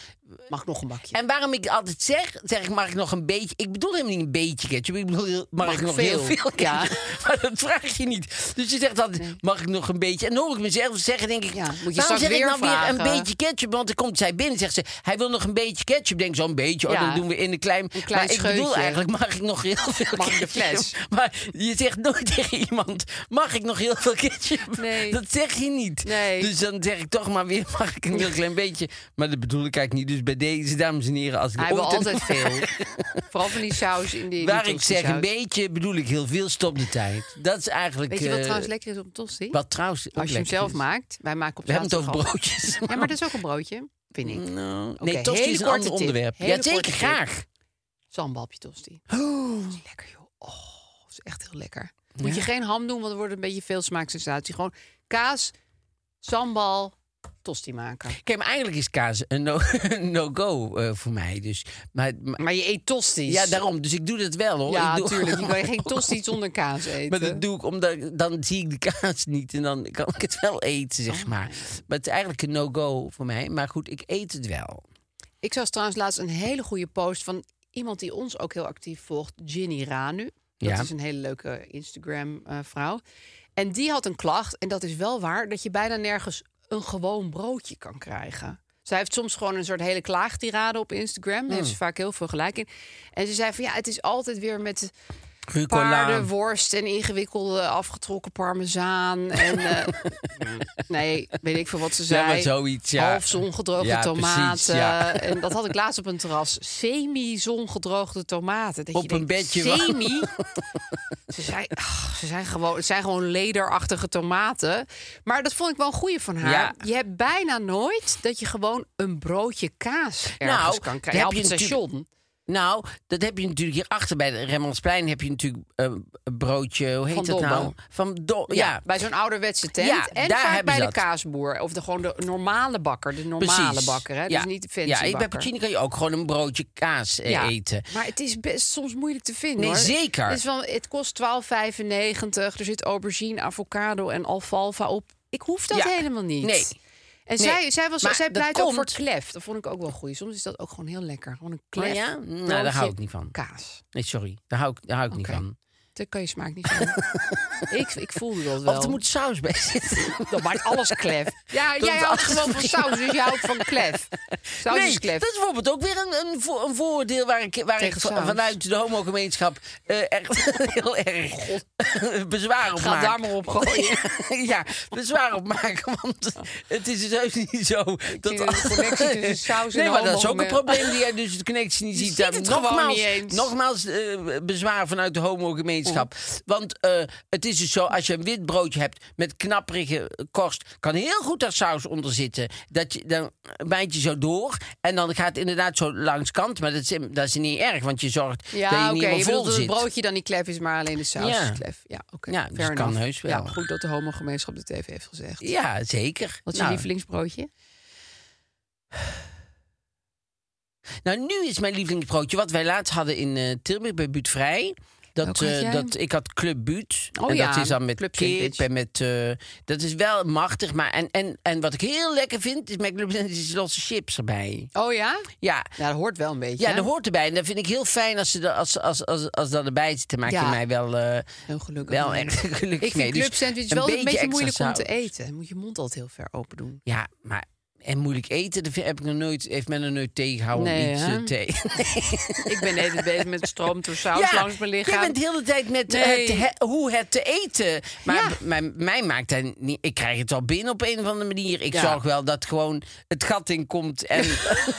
Mag ik nog een bakje? En waarom ik altijd zeg, zeg ik, mag ik nog een beetje. Ik bedoel helemaal niet een beetje ketchup. Ik bedoel, heel- mag, ik nog heel veel ketchup? Ja. Maar dat vraag je niet. Dus je zegt altijd, mag ik nog een beetje? En dan hoor ik mezelf zeggen, denk ik, Ja, moet je waarom zeg straks ik weer nou weer een vragen? beetje ketchup? Want dan komt zij binnen en zegt ze, hij wil nog een beetje ketchup. Denk ik, zo'n beetje, oh, Ja. dan doen we in een klein... Een klein maar ik bedoel scheutje. eigenlijk, mag ik nog heel veel Mag ik de ketchup? fles? Maar je zegt nooit tegen iemand, mag ik nog heel veel ketchup? Nee. Dat zeg je niet. Nee. Dus dan zeg ik toch maar weer, mag ik een heel klein beetje? Maar dat bedoel ik eigenlijk niet. Dus bij deze dames en heren, als ik Hij wil ooit een- altijd veel. Vooral van die saus in die Waar die ik zeg een tostisaus. beetje, bedoel ik heel veel stop de tijd. Dat is eigenlijk... Weet je wat eh, trouwens lekker is op een tosti? Wat trouwens ook Als je hem lekker zelf is. maakt. Wij maken op We hebben het over zaterdag al- broodjes. Ja, maar dat is ook een broodje, vind ik. Nou, Oké, nee, tosti hele is een korte ander tip. onderwerp. Hele ja, zeker, korte tip. graag. Zandbalpje tosti. Dat is lekker, joh. Oh, dat is echt heel lekker. Moet je geen ham doen, want er wordt een beetje veel smaaksensatie. Gewoon kaas, zandbal, tosti maken. Kijk, maar eigenlijk is kaas een no- een no-go eh, voor mij. Dus, maar, maar- Maar je eet tosti's. ja, daarom. Dus ik doe dat wel, hoor. Ja, ik doe, natuurlijk. Je kan geen tosti zonder kaas eten. Maar dat doe ik omdat ik- dan zie ik de kaas niet en dan kan ik het wel eten, zeg Oh. maar. Maar het is eigenlijk een no-go voor mij. Maar goed, ik eet het wel. Ik zag trouwens laatst een hele goede post van iemand die ons ook heel actief volgt, Ginny Ranu. Dat Ja. is een hele leuke Instagram-vrouw. en die had een klacht, en dat is wel waar, dat je bijna nergens een gewoon broodje kan krijgen. Zij heeft soms gewoon een soort hele klaagtirade op Instagram. Daar heeft ze vaak heel veel gelijk in. En ze zei van ja, het is altijd weer met Rucola. paardenworst en ingewikkelde afgetrokken parmezaan. En, eh, nee, weet ik veel wat ze zei. Ja, maar zoiets, ja. Half zongedroogde Ja, precies, tomaten. ja. En dat had ik laatst op een terras. Semi-zongedroogde tomaten. Dat Op je een denkt, bedje, wa- Semi? ze, zei, ach, ze, zijn gewoon, het zijn gewoon lederachtige tomaten. Maar dat vond ik wel een goeie van haar. Ja. Je hebt bijna nooit dat je gewoon een broodje kaas ergens Nou, kan dat krijgen. Ja, heb op je het natuurlijk- station. Nou, dat heb je natuurlijk hierachter bij de Remmelsplein. Heb je natuurlijk eh, een broodje, hoe heet Van dat nou? Dobbo. Van Do Ja, ja. bij zo'n ouderwetse tent. Ja, en daar vaak hebben bij ze de dat. kaasboer. Of de, gewoon de normale bakker. De normale Precies. bakker, hè? Ja. Dus niet de fancy Ja, bij bakker. Puccini kan je ook gewoon een broodje kaas eh, Ja, eten. Maar het is best soms moeilijk te vinden, Nee, hoor. zeker. Het, is wel, het kost 12,95. Er zit aubergine, avocado en alfalfa op. Ik hoef dat Ja. helemaal niet. Nee. En Nee. zij, zij, was, Maar zij dat pleit ook voor komt- klef. Dat vond ik ook wel goed. Soms is dat ook gewoon heel lekker. Gewoon een Oh klef. ja? Nou, daar broodje hou ik niet van. Kaas. Nee, sorry. Daar hou ik, daar hou ik Oké. niet van. Daar kan je smaak niet van. ik, ik voelde dat wel. Of er moet saus bij zitten. Dan maakt alles klef. Ja, Dat jij is houdt alles gewoon van prima. saus, dus je houdt van klef. Saus Nee, is klef. dat is bijvoorbeeld ook weer een, een, vo- een voordeel waar ik, waar ik Tegen va- saus. vanuit de homogemeenschap eh echt heel erg bezwaar op Ga maak. daar maar op gooien. ja, bezwaar op maken, want het is dus heus niet zo dat... zie de connectie tussen saus en Nee, maar dat is ook een homogemeer. probleem die jij dus de connectie niet Je ziet. ziet het gewoon nogmaals, niet eens. Nogmaals eh, bezwaar vanuit de homogemeenschap. Want eh, het is dus zo, als je een wit broodje hebt met knapperige korst... kan heel goed daar saus onder zitten. Dat je, dan bijt je zo door en dan gaat het inderdaad zo langs kant. Maar dat is, dat is niet erg, want je zorgt Ja, dat je oké. niet je helemaal bedoelt vol dat het zit. broodje dan niet klef is, maar alleen de saus Ja. is klef. Ja, oké. Ja, fair dus kan enough. heus wel. Ja, goed dat de homogemeenschap dit even heeft gezegd. Ja, zeker. Wat is Nou, je lievelingsbroodje? Nou, nu is mijn lievelingsbroodje wat wij laatst hadden in eh, Tilburg bij Buut Vrij. Dat, Welke had eh, jij? dat, ik had Club Buut. Oh en dat ja, is dan met Club kip Sandwich. en met... eh, dat is wel machtig, maar... En, en, en wat ik heel lekker vind, is mijn Club Sandwich is losse chips erbij. Oh ja? Ja, Ja, dat hoort wel een beetje. ja hè? dat hoort erbij. En dat vind ik heel fijn als, ze da- als, als, als, als dat erbij zit. Dan maak je Ja. mij wel, eh, Heel gelukkig. wel mee. echt gelukkig Ik mee. vind Dus club sandwich wel een beetje extra moeilijk om te saus. eten. Dan moet je mond altijd heel ver open doen. Ja, maar... En moeilijk eten, dat vind- heb ik nog nooit, heeft men nog nooit tegengehouden om Nee, iets hè? eh, te eten. Ik ben net bezig met stroom door saus Ja, langs mijn Jij lichaam. bent de hele tijd met eh, Nee. het, he- hoe het te eten. Maar Ja. b- mij, mij maakt dat niet. Ik krijg het wel binnen op een of andere manier. Ik Ja. zorg wel dat gewoon het gat in komt. En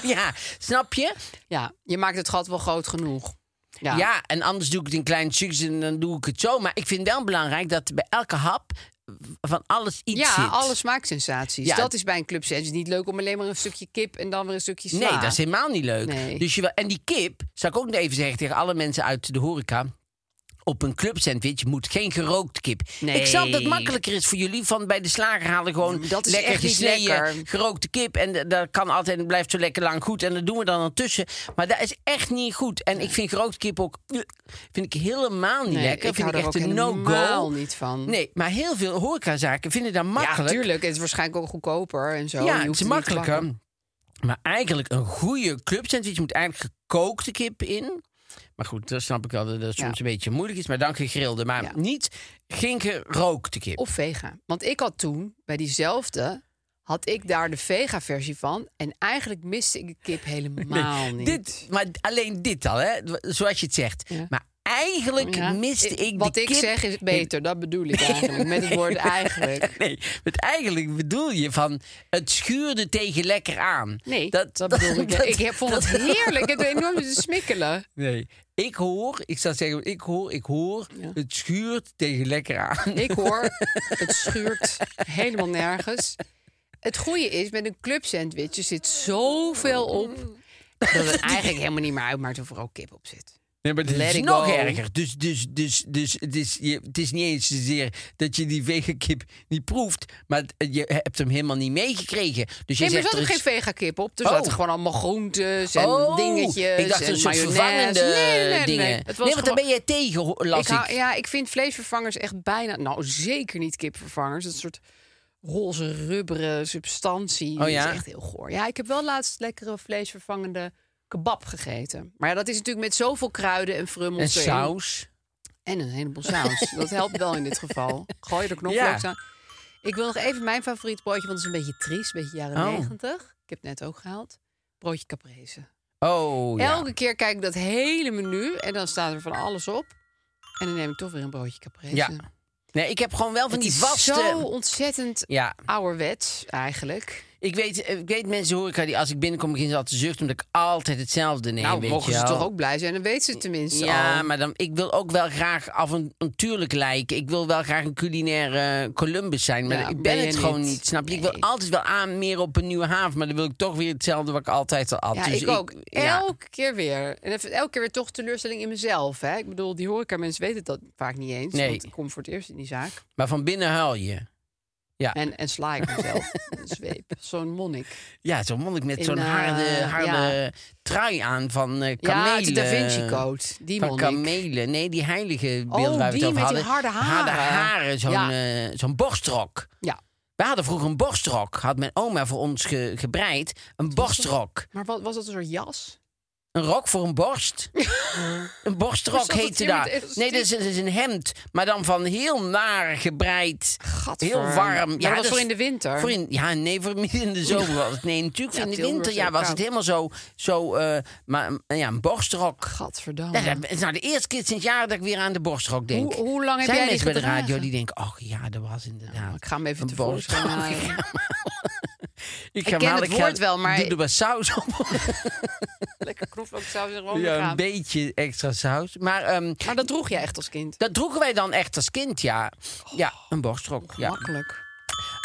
ja, snap je? Ja, je maakt het gat wel groot genoeg. Ja. en anders doe ik het in kleine stukjes en dan doe ik het zo. Maar ik vind wel belangrijk dat bij elke hap van alles iets Ja, zit. alle smaaksensaties. Ja. Dat is bij een club sandwich niet leuk om alleen maar een stukje kip en dan weer een stukje sla. Nee, dat is helemaal niet leuk. Nee. Dus je wil, en die kip, zou ik ook nog even zeggen tegen alle mensen uit de horeca. Op een clubsandwich moet geen gerookt kip. Nee. Ik snap dat het makkelijker is voor jullie. Van bij de slager halen gewoon Dat is lekker echt niet gesneden lekker. gerookte kip. En d- dat kan altijd en blijft zo lekker lang goed. En dat doen we dan ertussen. Maar dat is echt niet goed. En ik vind gerookte kip ook eh, vind ik helemaal niet Nee, lekker. ik vind hou ik er echt ook een no-go. helemaal niet van. Nee, maar heel veel horecazaken vinden dat Ja, makkelijk. tuurlijk. Het is waarschijnlijk ook goedkoper en zo. Je Ja, hoeft het is niet te bakken. makkelijker. Maar eigenlijk een goede clubsandwich moet eigenlijk gekookte kip in. Maar goed, dat snap ik wel dat dat Ja. soms een beetje moeilijk is. Maar dan gegrilde. Maar Ja. niet geen gerookte kip. Of vega. Want ik had toen, bij diezelfde, had ik daar de vega-versie van. En eigenlijk miste ik de kip helemaal niet. dit, maar alleen dit al, hè? zoals je het zegt. Ja. Maar eigenlijk Ja. miste ik, die Wat ik kip- zeg is beter, dat bedoel ik eigenlijk. Met het woord eigenlijk. Nee, want eigenlijk bedoel je van het schuurde tegen lekker aan. Nee, dat, bedoel ik. dat- ik heb- vond het heerlijk. Het enorm te smikkelen. Nee, ik hoor, ik zou zeggen, ik hoor, ik hoor, Ja. het schuurt tegen lekker aan. Ik hoor, het schuurt helemaal nergens. Het goede is, met een club sandwich, er zit zoveel op... dat het eigenlijk helemaal niet meer uitmaakt of er ook kip op zit. Nee, maar het Let is it nog go. erger. Dus, dus, dus, dus het, is, je, het is niet eens zozeer dat je die vegakip niet proeft, maar het- je hebt hem helemaal niet meegekregen. Dus je Nee, maar zegt er zat ook er geen is- vega-kip op. Er Oh. zaten gewoon allemaal groentes en Oh, dingetjes. Ik dacht en een soort mayonaise. vervangende nee, nee, nee. dingen. Nee, Nee, het was want daar gewoon- ben jij tegen, ho- las ik. ik hou- ja, ik vind vleesvervangers echt bijna... Nou, zeker niet kipvervangers. Dat soort roze, rubberen substantie. Oh ja? Dat is echt heel goor. Ja, ik heb wel laatst lekkere vleesvervangende kebab gegeten. Maar ja, dat is natuurlijk met zoveel kruiden en frummels En erin. saus. En een heleboel saus. dat helpt wel in dit geval. Gooi er knoflook Ja. aan. Ik wil nog even mijn favoriet broodje, want het is een beetje triest, een beetje jaren Oh. negentig. Ik heb het net ook gehaald. Broodje caprese. Oh, ja. Elke keer kijk ik dat hele menu en dan staat er van alles op. En dan neem ik toch weer een broodje caprese. Ja. Nee, ik heb gewoon wel van Het die is vaste... zo ontzettend Ja, ouderwets eigenlijk. ik weet, ik weet mensen hoor ik die als ik binnenkom beginnen ze altijd te zuchten omdat ik altijd hetzelfde neem. nou, weet mogen je ze wel. toch ook blij zijn. Dan weten ze het tenminste Oh. Ja, al. maar dan, ik wil ook wel graag avontuurlijk lijken. Ik wil wel graag een culinaire eh, Columbus zijn. Maar Ja, ik ben, ben je het gewoon niet. niet, snap je? Ik Nee. wil altijd wel aan meer op een nieuwe haven. Maar dan wil ik toch weer hetzelfde wat ik altijd al had. Ja, Dus ik ook. ja. Elke keer weer. En even- elke keer weer toch teleurstelling in mezelf. Hè? Ik bedoel, die horeca mensen weten dat vaak niet eens. Nee. Want ik kom voor het eerst in die zaak. Maar van binnen huil je. En, en sla ik mezelf met een zweep. Zo'n monnik. Ja, zo'n monnik met In, zo'n eh, harde, harde ja. trui aan van eh kamelen. Ja, de Da Vinci Code. Die van monnik. kamelen. Nee, die heilige Oh, beeld waar we die het over met die hadden. harde haren. haren, zo'n Ja. eh, zo'n borstrok. Ja. We hadden vroeger een borstrok. Had mijn oma voor ons ge- gebreid. Een borstrok. Maar wat, was dat een soort jas? Een rok voor een borst. een Waar borstrok zat het heette hier met dat. elastiek? Nee, dat is, dat is een hemd. Maar dan van heel naar gebreid. Gadver. Heel warm. dus Maar dat was voor in de winter. Voor in, ja, nee, voor midden in de zomer was het. Nee, natuurlijk Ja, in de Tilburg winter is ja, ook was het koud. helemaal zo. zo eh, maar ja, een borstrok. Gadverdamme. Ja, dat is nou de eerste keer sinds jaren dat ik weer aan de borstrok denk. Oh, Hoe- hoe lang heb Zijn jij die mensen bij de gedragen? Nou, radio die denken, oh ja, dat was inderdaad. ik ga hem even een tevoorschijn borstrok." halen. Ik ga hem halen. Ik, ga hem ken halen, het ik ga- woord wel, maar- Doe er wat saus op. Lekker knoflooksaus en room Ja, een beetje extra saus. Maar ehm, Maar dat droeg jij echt als kind. dat droegen wij dan echt als kind, ja. Ja, een borstrok. Oh, Ja. Makkelijk.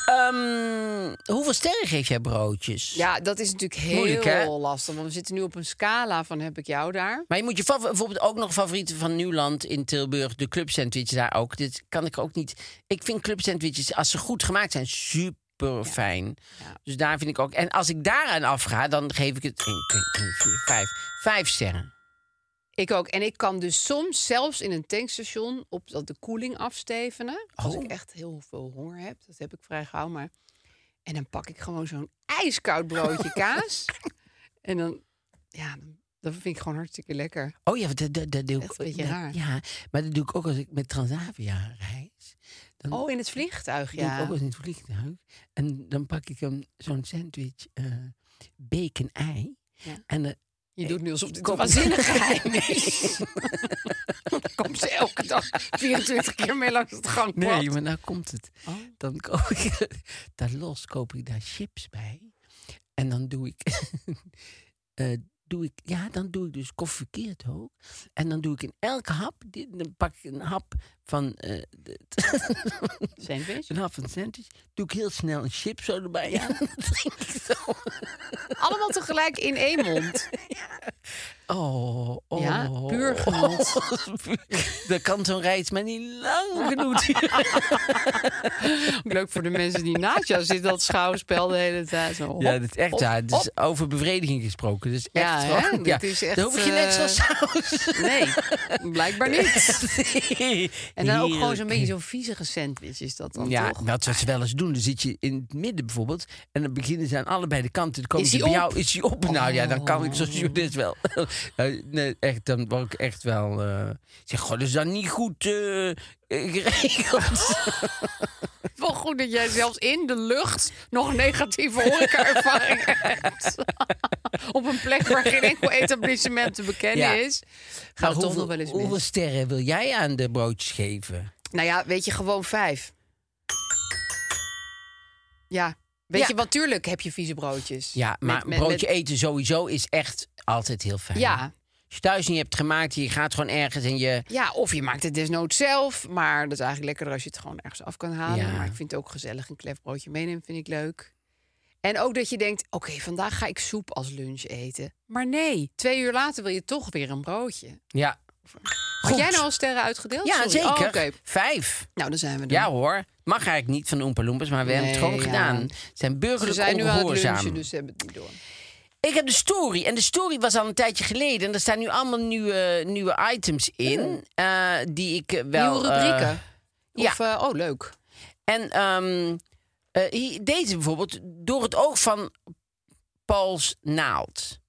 Ehm, hoeveel sterren geef jij broodjes? Ja, dat is natuurlijk heel Moeilijk, hè? lastig. Want we zitten nu op een scala van heb ik jou daar. Maar je moet je favor- bijvoorbeeld ook nog favorieten van Nieuwland in Tilburg, de club sandwich daar ook. Dit kan ik ook niet. Ik vind club sandwiches, als ze goed gemaakt zijn, super fijn. Dus daar vind ik ook. En als ik daaraan afga, dan geef ik het 1, 2, 3, 4, 5. Vijf sterren. Ik ook. En ik kan dus soms zelfs in een tankstation op dat de koeling afstevenen. Als Oh. ik echt heel veel honger heb. Dat heb ik vrij gauw. Maar... En dan pak ik gewoon zo'n ijskoud broodje kaas. En dan, ja, dan- dat vind ik gewoon hartstikke lekker. Oh ja, dat, dat, dat doe ik. Echt een beetje dat- raar. Ja, maar dat doe ik ook als ik met Transavia reis. Dan Oh, in het vliegtuig, doe ik ook ja. als in het vliegtuig. En dan pak ik een- zo'n sandwich eh bacon ei. Ja. En eh, dan Je doet nu alsof dit een Kom. waanzinnig geheim is. Dan komt ze elke dag 24 keer mee langs het Oh, gangpad. Nee, maar nou komt het. Dan koop ik daar los, koop ik daar chips bij. En dan doe ik, eh, doe ik, ja, dan doe ik dus koffiekeerd ook. En dan doe ik in elke hap, dit- dan pak ik een hap van, eh, de- Sandwich? een hap van sandwich. Doe ik heel snel een chip zo erbij. Ja, dan drink ik zo. Allemaal tegelijk in één mond. Oh, oh. Ja, puur genot. Oh, puur. Dat kan zo'n reis maar niet lang genoeg duren. Leuk voor de mensen die naast jou zitten, dat schouwspel de hele tijd. Zo, hop, Ja, dat is echt hop, waar. Het is hop. over bevrediging gesproken. Dus echt Ja, gewoon- hè? ja, Dat is echt, Daar hoef je net zo eh, saus. Nee, blijkbaar niet. En dan ook gewoon zo'n Heerlijk. beetje zo'n viezige sandwich is dat dan Ja, toch? dat wat ze wel eens doen. Dan zit je in het midden bijvoorbeeld. En dan beginnen ze aan allebei de kanten. Dan komen Is ze hij bij op? Oh. jou. Is hij op? Nou ja, dan kan ik zo'n journalist wel. Eh, nee, echt, dan word ik echt wel... eh, ik zeg, god, is dat niet goed eh, eh, geregeld? Wel goed dat jij zelfs in de lucht nog negatieve horeca-ervaring hebt. Op een plek waar geen enkel etablissement te bekennen Ja. is. Maar Gaat het toch hoeveel- nog wel eens mis. Hoeveel sterren wil jij aan de broodjes geven? Nou ja, weet je, gewoon vijf. Ja, weet Ja. je, want tuurlijk heb je vieze broodjes. Ja, Met- maar met- broodje met- eten sowieso is echt altijd heel fijn. Ja. Als je thuis niet hebt gemaakt, je gaat gewoon ergens en je... Ja, of je maakt het desnoods zelf. Maar dat is eigenlijk lekkerder als je het gewoon ergens af kan halen. Ja. Maar ik vind het ook gezellig. Een klefbroodje meenemen vind ik leuk. En ook dat je denkt, oké, vandaag ga ik soep als lunch eten. Maar nee, twee uur later wil je toch weer een broodje. Ja. Had jij nou al sterren uitgedeeld? Ja, Sorry. zeker. Oh, Oké, Vijf. nou dan zijn we er. Ja hoor. Mag eigenlijk niet van de Oompa Loompas, maar we hebben het Nee, gewoon ja. gedaan. Het zijn Ze burgerlijk zijn nu aan het ongehoorzaam. lunchen, dus ze hebben het niet door. Ik heb de story. En de story was al een tijdje geleden. En er staan nu allemaal nieuwe, nieuwe items in. eh, die ik eh, wel... Hmm. Nieuwe eh, rubrieken. ja. Of, eh, oh, leuk. En ehm, eh, hier- deze bijvoorbeeld, door het oog van Pauls Naald.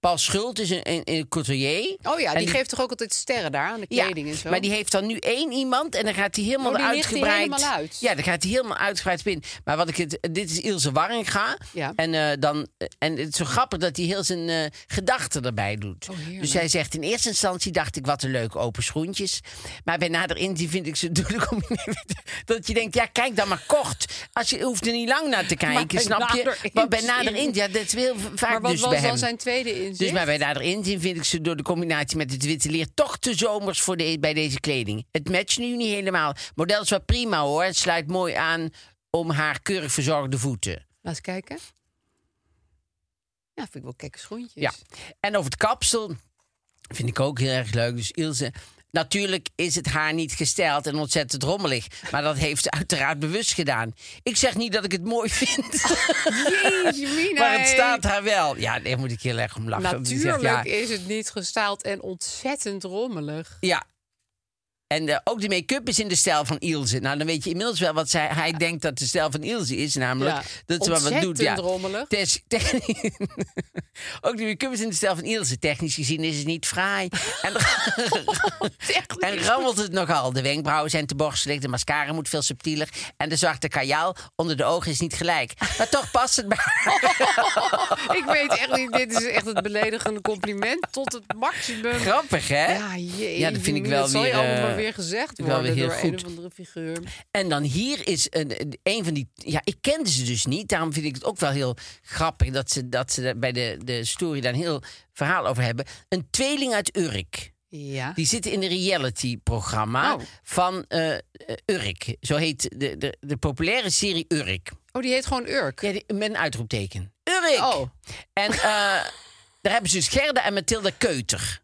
Paul Schult is een, een, een couturier. Oh ja, En die geeft toch ook altijd sterren daar aan de ja, kleding en zo? Maar die heeft dan nu één iemand en dan gaat hij helemaal Oh, die ligt die uitgebreid. helemaal uit. Ja, dan gaat hij helemaal uitgebreid spinnen. Maar wat ik het, dit is Ilse Warringa. Ja. En, eh, dan, en het is zo grappig dat hij heel zijn eh, gedachten erbij doet. Oh, heerlijk. dus hij zegt in eerste instantie dacht ik wat een leuke open schoentjes. Maar bij nader inzien vind ik ze door de combinatie- dat je denkt ja kijk dan maar kort. Als je je hoeft er niet lang naar te kijken, bij snap nader je? Maar bij nader inzien. inzien, ja, dat is heel v- vaak maar wat dus bij was hem. dan zijn tweede inzicht? Dus maar bij nader inzien vind ik ze door de combinatie met het witte leer toch te zomers voor de, bij deze kleding. Het matcht nu niet helemaal. Model is wel prima hoor. Het sluit mooi aan om haar keurig verzorgde voeten. Laat eens kijken. Ja, vind ik wel kekke schoentjes. Ja. En over het kapsel vind ik ook heel erg leuk. Dus Ilse. Natuurlijk is het haar niet gesteld en ontzettend rommelig. Maar dat heeft ze uiteraard bewust gedaan. Ik zeg niet dat ik het mooi vind. Jeetje, Mina, maar het hey. staat haar wel. Ja, daar moet ik heel erg om lachen. Want die zegt, Natuurlijk ja, is het niet gestaald en ontzettend rommelig. Ja. En eh, ook de make-up is in de stijl van Ilse. Nou, dan weet je inmiddels wel wat zij, hij denkt dat de stijl van Ilse is. Namelijk Ja, dat ze wel wat doet. Ja. ontzettend rommelig. Tess- techni- ook de make-up is in de stijl van Ilse. Technisch gezien is het niet fraai. En, en rammelt het nogal. De wenkbrauwen zijn te borstelig. De mascara moet veel subtieler. En de zwarte kajaal onder de ogen is niet gelijk. Maar toch past het bij haar. Ik weet echt niet, dit is echt het beledigende compliment tot het maximum. Grappig, hè? Ja, jee, Ja, dat vind ik wel dat zal je weer, allemaal eh, maar weer gezegd wel weer worden heel door een goed. of andere figuur. En dan hier is een, een van die. Ja, ik kende ze dus niet. Daarom vind ik het ook wel heel grappig dat ze, dat ze daar bij de, de story daar een heel verhaal over hebben. Een tweeling uit Urk. Ja. Die zitten in een reality-programma Oh. van eh, eh, Urk. Zo heet de, de, de populaire serie Urk. Oh, die heet gewoon Urk. Ja, die- met een uitroepteken. Urk! Oh. En eh, daar hebben ze dus Gerda en Mathilda Keuter.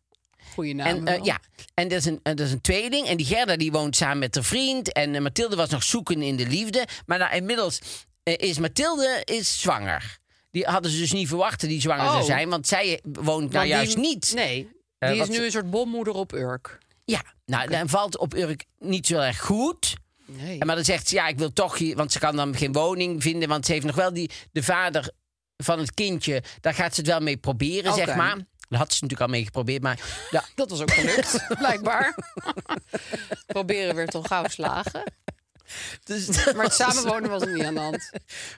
Goeie naam. En, eh, wel. ja, en dat is, een, eh, dat is een tweeling. En die Gerda die woont samen met haar vriend. En eh, Mathilde was nog zoeken in de liefde. Maar nou, inmiddels eh, is Mathilde is zwanger. Die hadden ze dus niet verwacht dat die zwanger zou Oh. zijn. Want zij woont nou Want die- juist niet. Nee, Eh, die is wat- nu een soort bommoeder op Urk. Ja, nou, dan valt op Urk niet zo erg goed. Nee. En Maar dan zegt ze, ja, ik wil toch hier... Want ze kan dan geen woning vinden. Want ze heeft nog wel die, de vader van het kindje. Daar gaat ze het wel mee proberen, zeg Oké. maar. Daar had ze natuurlijk al mee geprobeerd. Maar de Dat was ook gelukt, blijkbaar. Proberen werd al gauw slagen. Dus Maar het samenwonen was er niet aan de hand.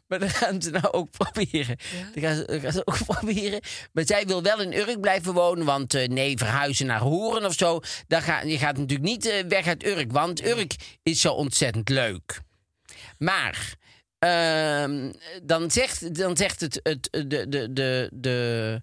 Maar dat gaan ze nou ook proberen. Dat gaan ze, dat gaan ze ook proberen. Maar zij wil wel in Urk blijven wonen. Want eh, nee, verhuizen naar Horen of zo. Dat ga, je gaat natuurlijk niet eh, weg uit Urk. Want Urk is zo ontzettend leuk. Maar ehm, dan zegt, dan zegt het, het, de, de, de, de,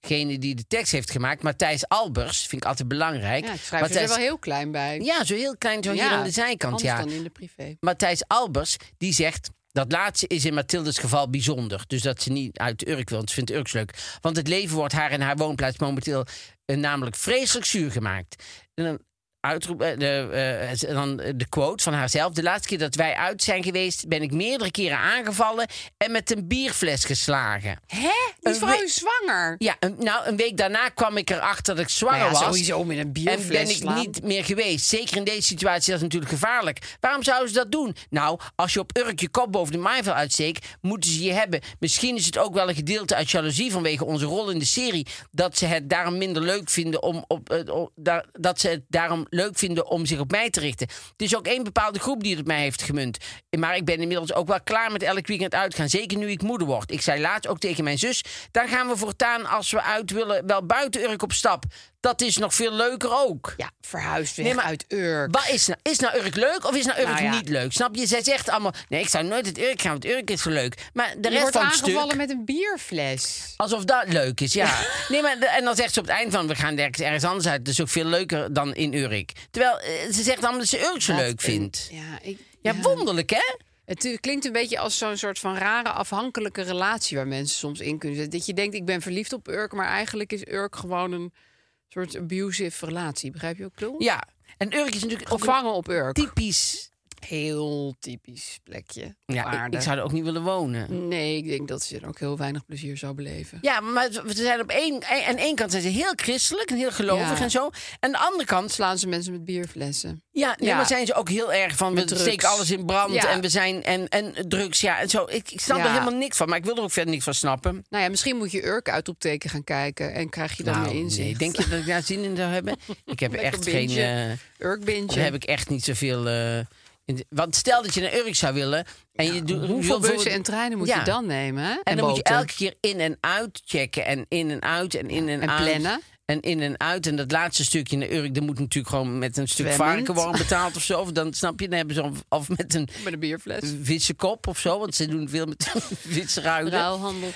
degene die de tekst heeft gemaakt, Matthijs Albers, vind ik altijd belangrijk. Ja, ik schrijf het er Matthijs- wel heel klein bij. ja, zo heel klein, zo hier aan de zijkant. anders Ja. dan in de privé. Matthijs Albers, die zegt... Dat laatste is in Mathildes geval bijzonder. Dus dat ze niet uit Urk wil, want ze vindt Urk leuk. Want het leven wordt haar en haar woonplaats momenteel eh, namelijk vreselijk zuur gemaakt. En dan, uitroep, eh, de, eh, en dan de quote van haarzelf. De laatste keer dat wij uit zijn geweest, ben ik meerdere keren aangevallen en met een bierfles geslagen. Hè? Die Een vrouw we- is zwanger. Ja, een- nou, een week daarna kwam ik erachter dat ik zwanger Nou ja, was. sowieso met een bierfles En ben ik slaan. niet meer geweest. Zeker in deze situatie is dat natuurlijk gevaarlijk. Waarom zouden ze dat doen? Nou, als je op Urk je kop boven de maaiveld uitsteekt, moeten ze je hebben. Misschien is het ook wel een gedeelte uit jaloezie vanwege onze rol in de serie. Dat ze het daarom minder leuk vinden om, op, eh, o- daar- dat ze het daarom leuk vinden om zich op mij te richten. Het is ook één bepaalde groep die het op mij heeft gemunt. Maar ik ben inmiddels ook wel klaar met elk weekend uitgaan. Zeker nu ik moeder word. Ik zei laatst ook tegen mijn zus: dan gaan we voortaan als we uit willen wel buiten Urk op stap. Dat is nog veel leuker ook. Ja, verhuisd weg Nee, maar- uit Urk. Wat is nou, is nou Urk leuk of is nou Urk Nou ja. niet leuk? Snap je? Zij zegt allemaal: nee, ik zou nooit uit Urk gaan, want Urk is zo leuk. Maar de je rest wordt van het aangevallen stuk. met een bierfles. Alsof dat leuk is, ja. nee, maar, de- en dan zegt ze op het eind van... we gaan ergens, ergens anders uit, dat is ook veel leuker dan in Urk. Terwijl eh, ze zegt allemaal dat ze Urk zo Wat leuk een- vindt. Ja, ik, Ja, ja. wonderlijk, hè? Het eh, klinkt een beetje als zo'n soort van rare afhankelijke relatie waar mensen soms in kunnen zitten. Dat je denkt, ik ben verliefd op Urk, maar eigenlijk is Urk gewoon een soort abusive relatie. Begrijp je ook? Ja. En Urk is natuurlijk ook Gevangen op een Urk. typisch Heel typisch plekje. op Ja, ik, aarde. ik zou er ook niet willen wonen. Nee, ik denk dat ze er ook heel weinig plezier zou beleven. Ja, maar ze ze zijn op één, e- aan één kant zijn ze heel christelijk en heel gelovig Ja. en zo. En aan de andere kant, sla- Slaan ze mensen met bierflessen. ja, nee, Ja. maar zijn ze ook heel erg van we Met drugs. steken alles in brand Ja. en we zijn en, en drugs, ja, en zo. Ik, ik snap Ja. er helemaal niks van, maar ik wil er ook verder niks van snappen. Nou ja, misschien moet je Urk uitroepteken gaan kijken en krijg je dan Nou, meer inzicht. nee, denk je dat ik daar zin in zou hebben? Ik heb Lekker echt geen. bintje. eh, Urk-bintje. daar heb ik echt niet zoveel. eh, in de- want stel dat je naar Urk zou willen en je doet je Hoeveel wilt bussen bijvoorbeeld- en treinen moet Ja. je dan nemen? hè? En, En, dan moet je boten. elke keer in en uit checken. En in en uit en in en, en uit. plannen. En in en uit. En dat laatste stukje in de Urk, dat moet natuurlijk gewoon met een stuk Zwemmend. varkenworm betaald of zo. Of dan snap je, dan hebben ze of, of met een Met een bierfles. witse kop of zo. Want ze doen veel met witse ruilen. Ruilhandel.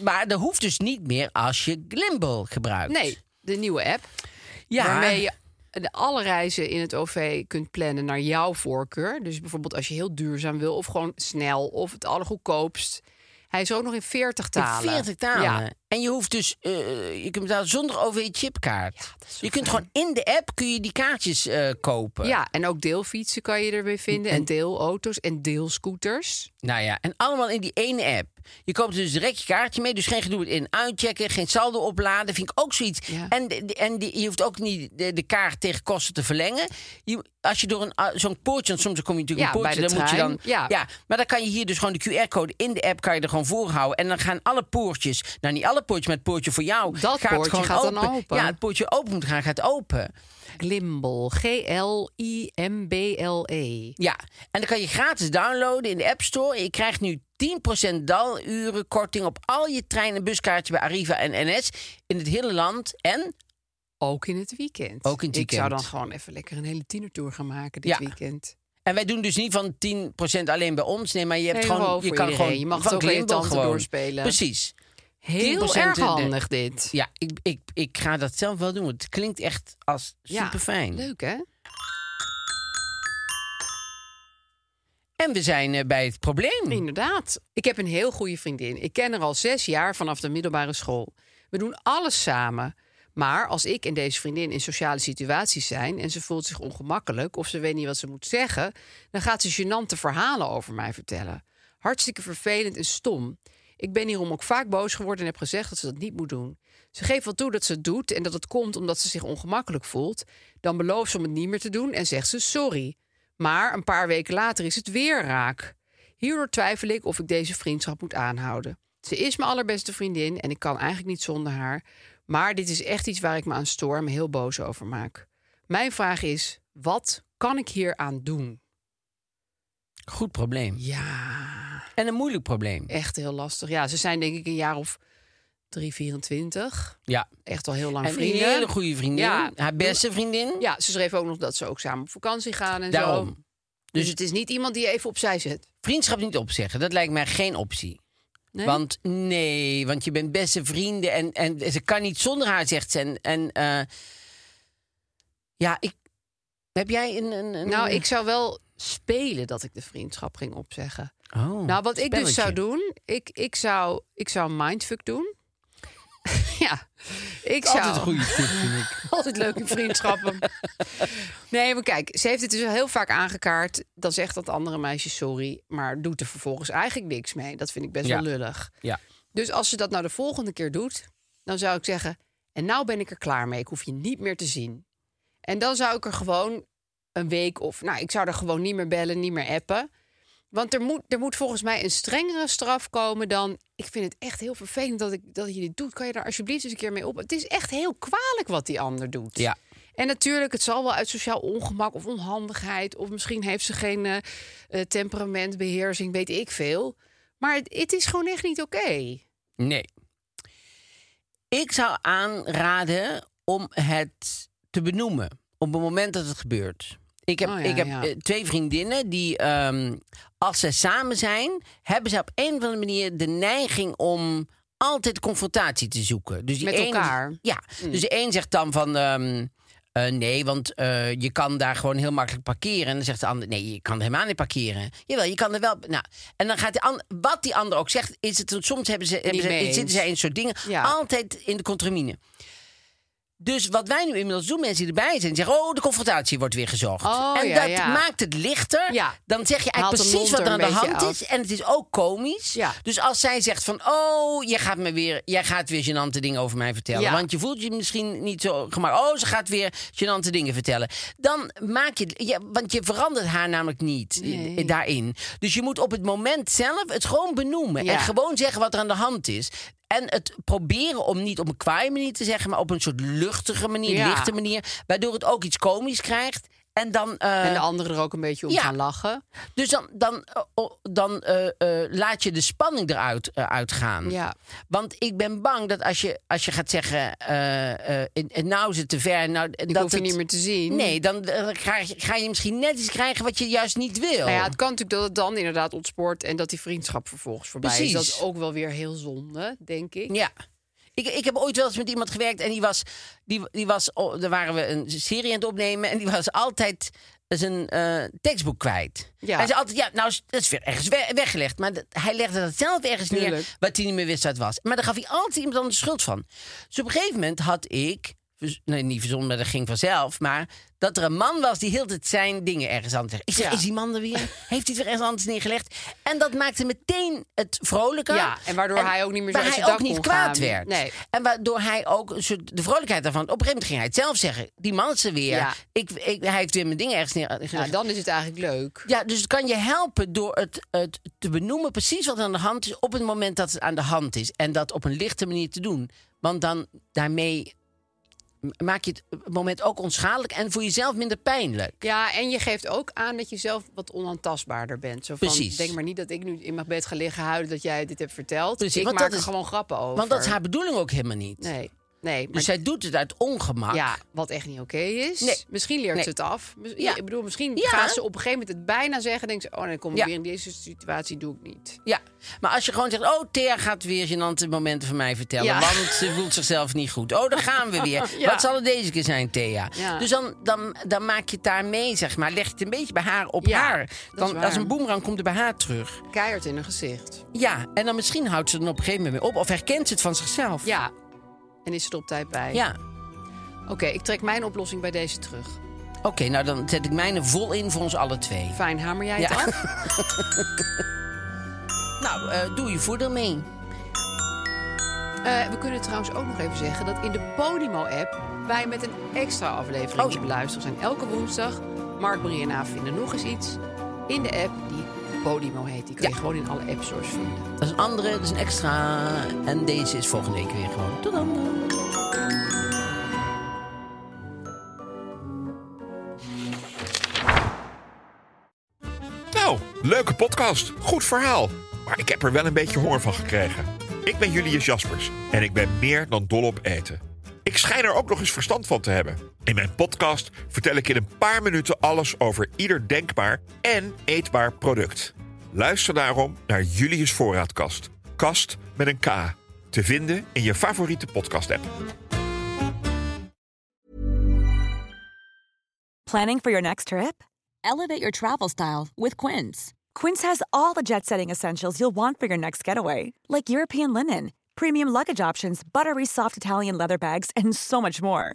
Maar dat hoeft dus niet meer als je Glimble gebruikt. Nee, de nieuwe app. Ja. Waarmee je de alle reizen in het OV kunt plannen naar jouw voorkeur. Dus bijvoorbeeld als je heel duurzaam wil, of gewoon snel, of het allergoedkoopst. Hij is ook nog in 40 In talen. 40 talen. Ja. En je hoeft dus, eh, je kunt betalen zonder OV-chipkaart. je kunt gewoon in de app kun je die kaartjes eh, kopen. ja, en ook deelfietsen kan je erbij vinden. En deelauto's en deelscooters. Nou ja, en allemaal in die ene app. Je koopt dus direct je kaartje mee, dus geen gedoe met in uitchecken, geen saldo opladen, vind ik ook zoiets. Ja. En, de- de- en die, je hoeft ook niet de, de kaart tegen kosten te verlengen. Je, als je door een a- zo'n poortje, want soms kom je natuurlijk Ja, een poortje, bij de dan trein, moet je dan. ja. maar dan kan je hier dus gewoon de QR-code in de app kan je er gewoon voorhouden en dan gaan alle poortjes, nou niet alle poortjes, maar het poortje voor jou Dat gaat poortje gewoon gaat open. dan open. Ja, het poortje open moet gaan, gaat open. Glimble. G-L-I-M-B-L-E. Ja, en dan kan je gratis downloaden in de App Store. Je krijgt nu 10% daluren korting op al je trein- en buskaartjes bij Arriva en NS in het hele land. En Ook in het weekend. Ook in het Ik zou weekend. dan gewoon even lekker een hele tienertour gaan maken dit Ja. weekend. en wij doen dus niet van 10% alleen bij ons. Nee, maar je hebt Nee, gewoon. gewoon je voor kan iedereen. gewoon. Je mag van het ook aan je Glimbel tante gewoon. doorspelen. Precies. Heel 10% erg in eh, de- handig dit. Ja, ik, ik, ik ga dat zelf wel doen. want Het klinkt echt als Ja, super fijn. Leuk hè? en we zijn eh, bij het probleem. Inderdaad. Ik heb een heel goede vriendin. Ik ken haar al zes jaar vanaf de middelbare school. We doen alles samen. Maar als ik en deze vriendin in sociale situaties zijn en ze voelt zich ongemakkelijk of ze weet niet wat ze moet zeggen, dan gaat ze gênante verhalen over mij vertellen. Hartstikke vervelend en stom. Ik ben hierom ook vaak boos geworden en heb gezegd dat ze dat niet moet doen. Ze geeft wel toe dat ze het doet en dat het komt omdat ze zich ongemakkelijk voelt. Dan belooft ze om het niet meer te doen en zegt ze sorry. Maar een paar weken later is het weer raak. Hierdoor twijfel ik of ik deze vriendschap moet aanhouden. Ze is mijn allerbeste vriendin en ik kan eigenlijk niet zonder haar. Maar dit is echt iets waar ik me aan stoor en me heel boos over maak. Mijn vraag is: wat kan ik hier aan doen? Goed probleem. Ja, En een moeilijk probleem. echt heel lastig. Ja, ze zijn denk ik een jaar of 3, 24. Ja. Echt al heel lang En een vrienden. hele goede vriendin. Ja. Haar beste vriendin. Ja, ze schreef ook nog dat ze ook samen op vakantie gaan en zo. Daarom. Dus het is niet iemand die je even opzij zet. Vriendschap niet opzeggen, dat lijkt mij geen optie. Nee? Want nee, want je bent beste vrienden en, en ze kan niet zonder haar, zegt ze. En, en eh, ja, ik, heb jij een. een, een- Nou, ik zou wel spelen dat ik de vriendschap ging opzeggen. Oh, nou, wat ik dus zou spelletje. doen, ik, ik, zou, ik zou mindfuck doen. ja, ik zou Altijd een goede tip, vind ik. altijd leuk in vriendschappen. nee, maar kijk, ze heeft het dus al heel vaak aangekaart. Dan zegt dat andere meisje sorry, maar doet er vervolgens eigenlijk niks mee. Dat vind ik best Ja. wel lullig. Ja. Dus als ze dat nou de volgende keer doet, dan zou ik zeggen: En nou ben ik er klaar mee, ik hoef je niet meer te zien. En dan zou ik er gewoon een week of, nou, ik zou er gewoon niet meer bellen, niet meer appen. Want er moet, er moet volgens mij een strengere straf komen dan. Ik vind het echt heel vervelend dat, ik, dat je dit doet. Kan je daar alsjeblieft eens een keer mee op? Het is echt heel kwalijk wat die ander doet. Ja. En natuurlijk, het zal wel uit sociaal ongemak of onhandigheid. of misschien heeft ze geen eh, eh, temperament, beheersing, weet ik veel. Maar het, het is gewoon echt niet oké. Nee. Ik zou aanraden om het te benoemen op het moment dat het gebeurt. Ik heb, Oh ja, ik heb ja. eh, twee vriendinnen die, ehm, als ze samen zijn, hebben ze op een of andere manier de neiging om altijd confrontatie te zoeken. Dus die Met een- elkaar? Ja, Mm. dus de een zegt dan van. ehm, eh, nee, want eh, je kan daar gewoon heel makkelijk parkeren. En dan zegt de ander, nee, je kan er helemaal niet parkeren. Jawel, je kan er wel... Nou, en dan gaat de ander... Wat die ander ook zegt, is het... Soms hebben ze, hebben Niet ze, mee zitten eens. zij in soort dingen. Ja. Altijd in de contramine. Dus wat wij nu inmiddels doen, mensen die erbij zijn, die zeggen: Oh, de confrontatie wordt weer gezocht. Oh, en ja, dat ja. maakt het lichter. Ja. Dan zeg je Haalt eigenlijk de precies lont wat er er aan de een beetje hand af. is. En het is ook komisch. Ja. Dus als zij zegt: van, Oh, jij gaat, me weer, jij gaat weer gênante dingen over mij vertellen. Ja. Want je voelt je misschien niet zo gemakkelijk. Oh, ze gaat weer gênante dingen vertellen. Dan maak je het. ja, want je verandert haar namelijk niet eh, daarin. Dus je moet op het moment zelf het gewoon benoemen. Ja. En gewoon zeggen wat er aan de hand is. En het proberen om niet op een kwaaie manier te zeggen, maar op een soort luchtige manier, Ja. lichte manier. Waardoor het ook iets komisch krijgt. En dan, eh, En de anderen er ook een beetje om ja. gaan lachen. dus dan, dan, eh, oh, dan eh, eh, laat je de spanning eruit eh, uitgaan. Ja. Want ik ben bang dat als je, als je gaat zeggen, eh, eh, en- en nou is het te ver. Nou, Ik dat hoef je het- niet meer te zien. Nee, dan eh, ga, je- ga je misschien net iets krijgen wat je juist niet wil. Nou ja, het kan natuurlijk dat het dan inderdaad ontspoort en dat die vriendschap vervolgens voorbij Precies. is. Dat is ook wel weer heel zonde, denk ik. Ja. Ik, ik heb ooit wel eens met iemand gewerkt en die was, die, die was oh, daar waren we een serie aan het opnemen en die was altijd zijn eh tekstboek kwijt. Ja. Hij zei altijd, ja, nou is- dat is weer ergens we- weggelegd. Maar dat- hij legde dat zelf ergens neer Tuurlijk. wat hij niet meer wist wat het was. Maar daar gaf hij altijd iemand anders de schuld van. Dus op een gegeven moment had ik, vers- nee, niet verzonnen, maar dat ging vanzelf, maar dat er een man was die heel het zijn dingen ergens anders legde. Ik zeg, Ja. is die man er weer? Heeft hij het weer ergens anders neergelegd? En dat maakte meteen het vrolijker. Ja, en waardoor hij ook niet meer zo waar uit hij zijn ook dak niet kon kwaad gaan. werd. Nee. En waardoor hij ook een soort de vrolijkheid daarvan. Op een gegeven moment ging hij het zelf zeggen. Die man is er weer. Ja. Ik, ik, hij heeft weer mijn dingen ergens neer. Ja, dan is het eigenlijk leuk. Ja, dus het kan je helpen door het, het te benoemen precies wat aan de hand is op het moment dat het aan de hand is. En dat op een lichte manier te doen. Want dan daarmee m- maak je het moment ook onschadelijk en voor jezelf minder pijnlijk. Ja, en je geeft ook aan dat je zelf wat onaantastbaarder bent. Zo van, Precies. denk maar niet dat ik nu in mijn bed ga liggen huilen dat jij dit hebt verteld. Precies, ik want maak dat er is- gewoon grappen over. Want dat is haar bedoeling ook helemaal niet. Nee, nee. Maar Dus zij doet het uit ongemak. ja, wat echt niet oké is. Nee. Misschien leert Nee. ze het af. Mis- Ja. Ik bedoel, misschien Ja. gaat ze op een gegeven moment het bijna zeggen. en denkt ze, oh nee, kom ik Ja. weer in deze situatie, doe ik niet. Ja, maar als je gewoon zegt... oh, Thea gaat weer gênante momenten van mij vertellen... Ja. want ze voelt zichzelf niet goed. Oh, daar gaan we weer. Ja. Wat zal het deze keer zijn, Thea? Ja. Dus dan, dan, dan maak je het daarmee, zeg maar. Leg je het een beetje bij haar op Ja, haar. dat is Dan, waar. als een boemerang komt het bij haar terug. Keihard in een gezicht. Ja, en dan misschien houdt ze er dan op een gegeven moment mee op... of herkent ze het van zichzelf. Ja. En is ze er op tijd bij. Ja. Oké, ik trek mijn oplossing bij deze terug. Oké, nou dan zet ik mijne vol in voor ons alle twee. Fijn, hamer jij Ja. het af? Nou, eh, doe je voordeel mee. Eh, we kunnen trouwens ook nog even zeggen dat in de Podimo-app... wij met een extra aflevering Oh, ja. te beluisteren zijn. Elke woensdag. Mark, Marie en Aaf vinden nog eens iets. In de app die Podimo heet. Die kun je Ja. gewoon in alle appstores vinden. Dat is een andere, dat is een extra. En deze is volgende week weer gewoon. Tot dan. Nou, leuke podcast. Goed verhaal. Maar ik heb er wel een beetje honger van gekregen. Ik ben Julius Jaspers en ik ben meer dan dol op eten. Ik schijn er ook nog eens verstand van te hebben. In mijn podcast vertel ik in een paar minuten alles over ieder denkbaar en eetbaar product. Luister daarom naar Julius Voorraadkast. Kast met een K. Te vinden in je favoriete podcast-app. Planning for your next trip? Elevate your travel style with Quince. Quince has all the jet setting essentials you'll want for your next getaway, like European linen, premium luggage options, buttery soft Italian leather bags, and so much more.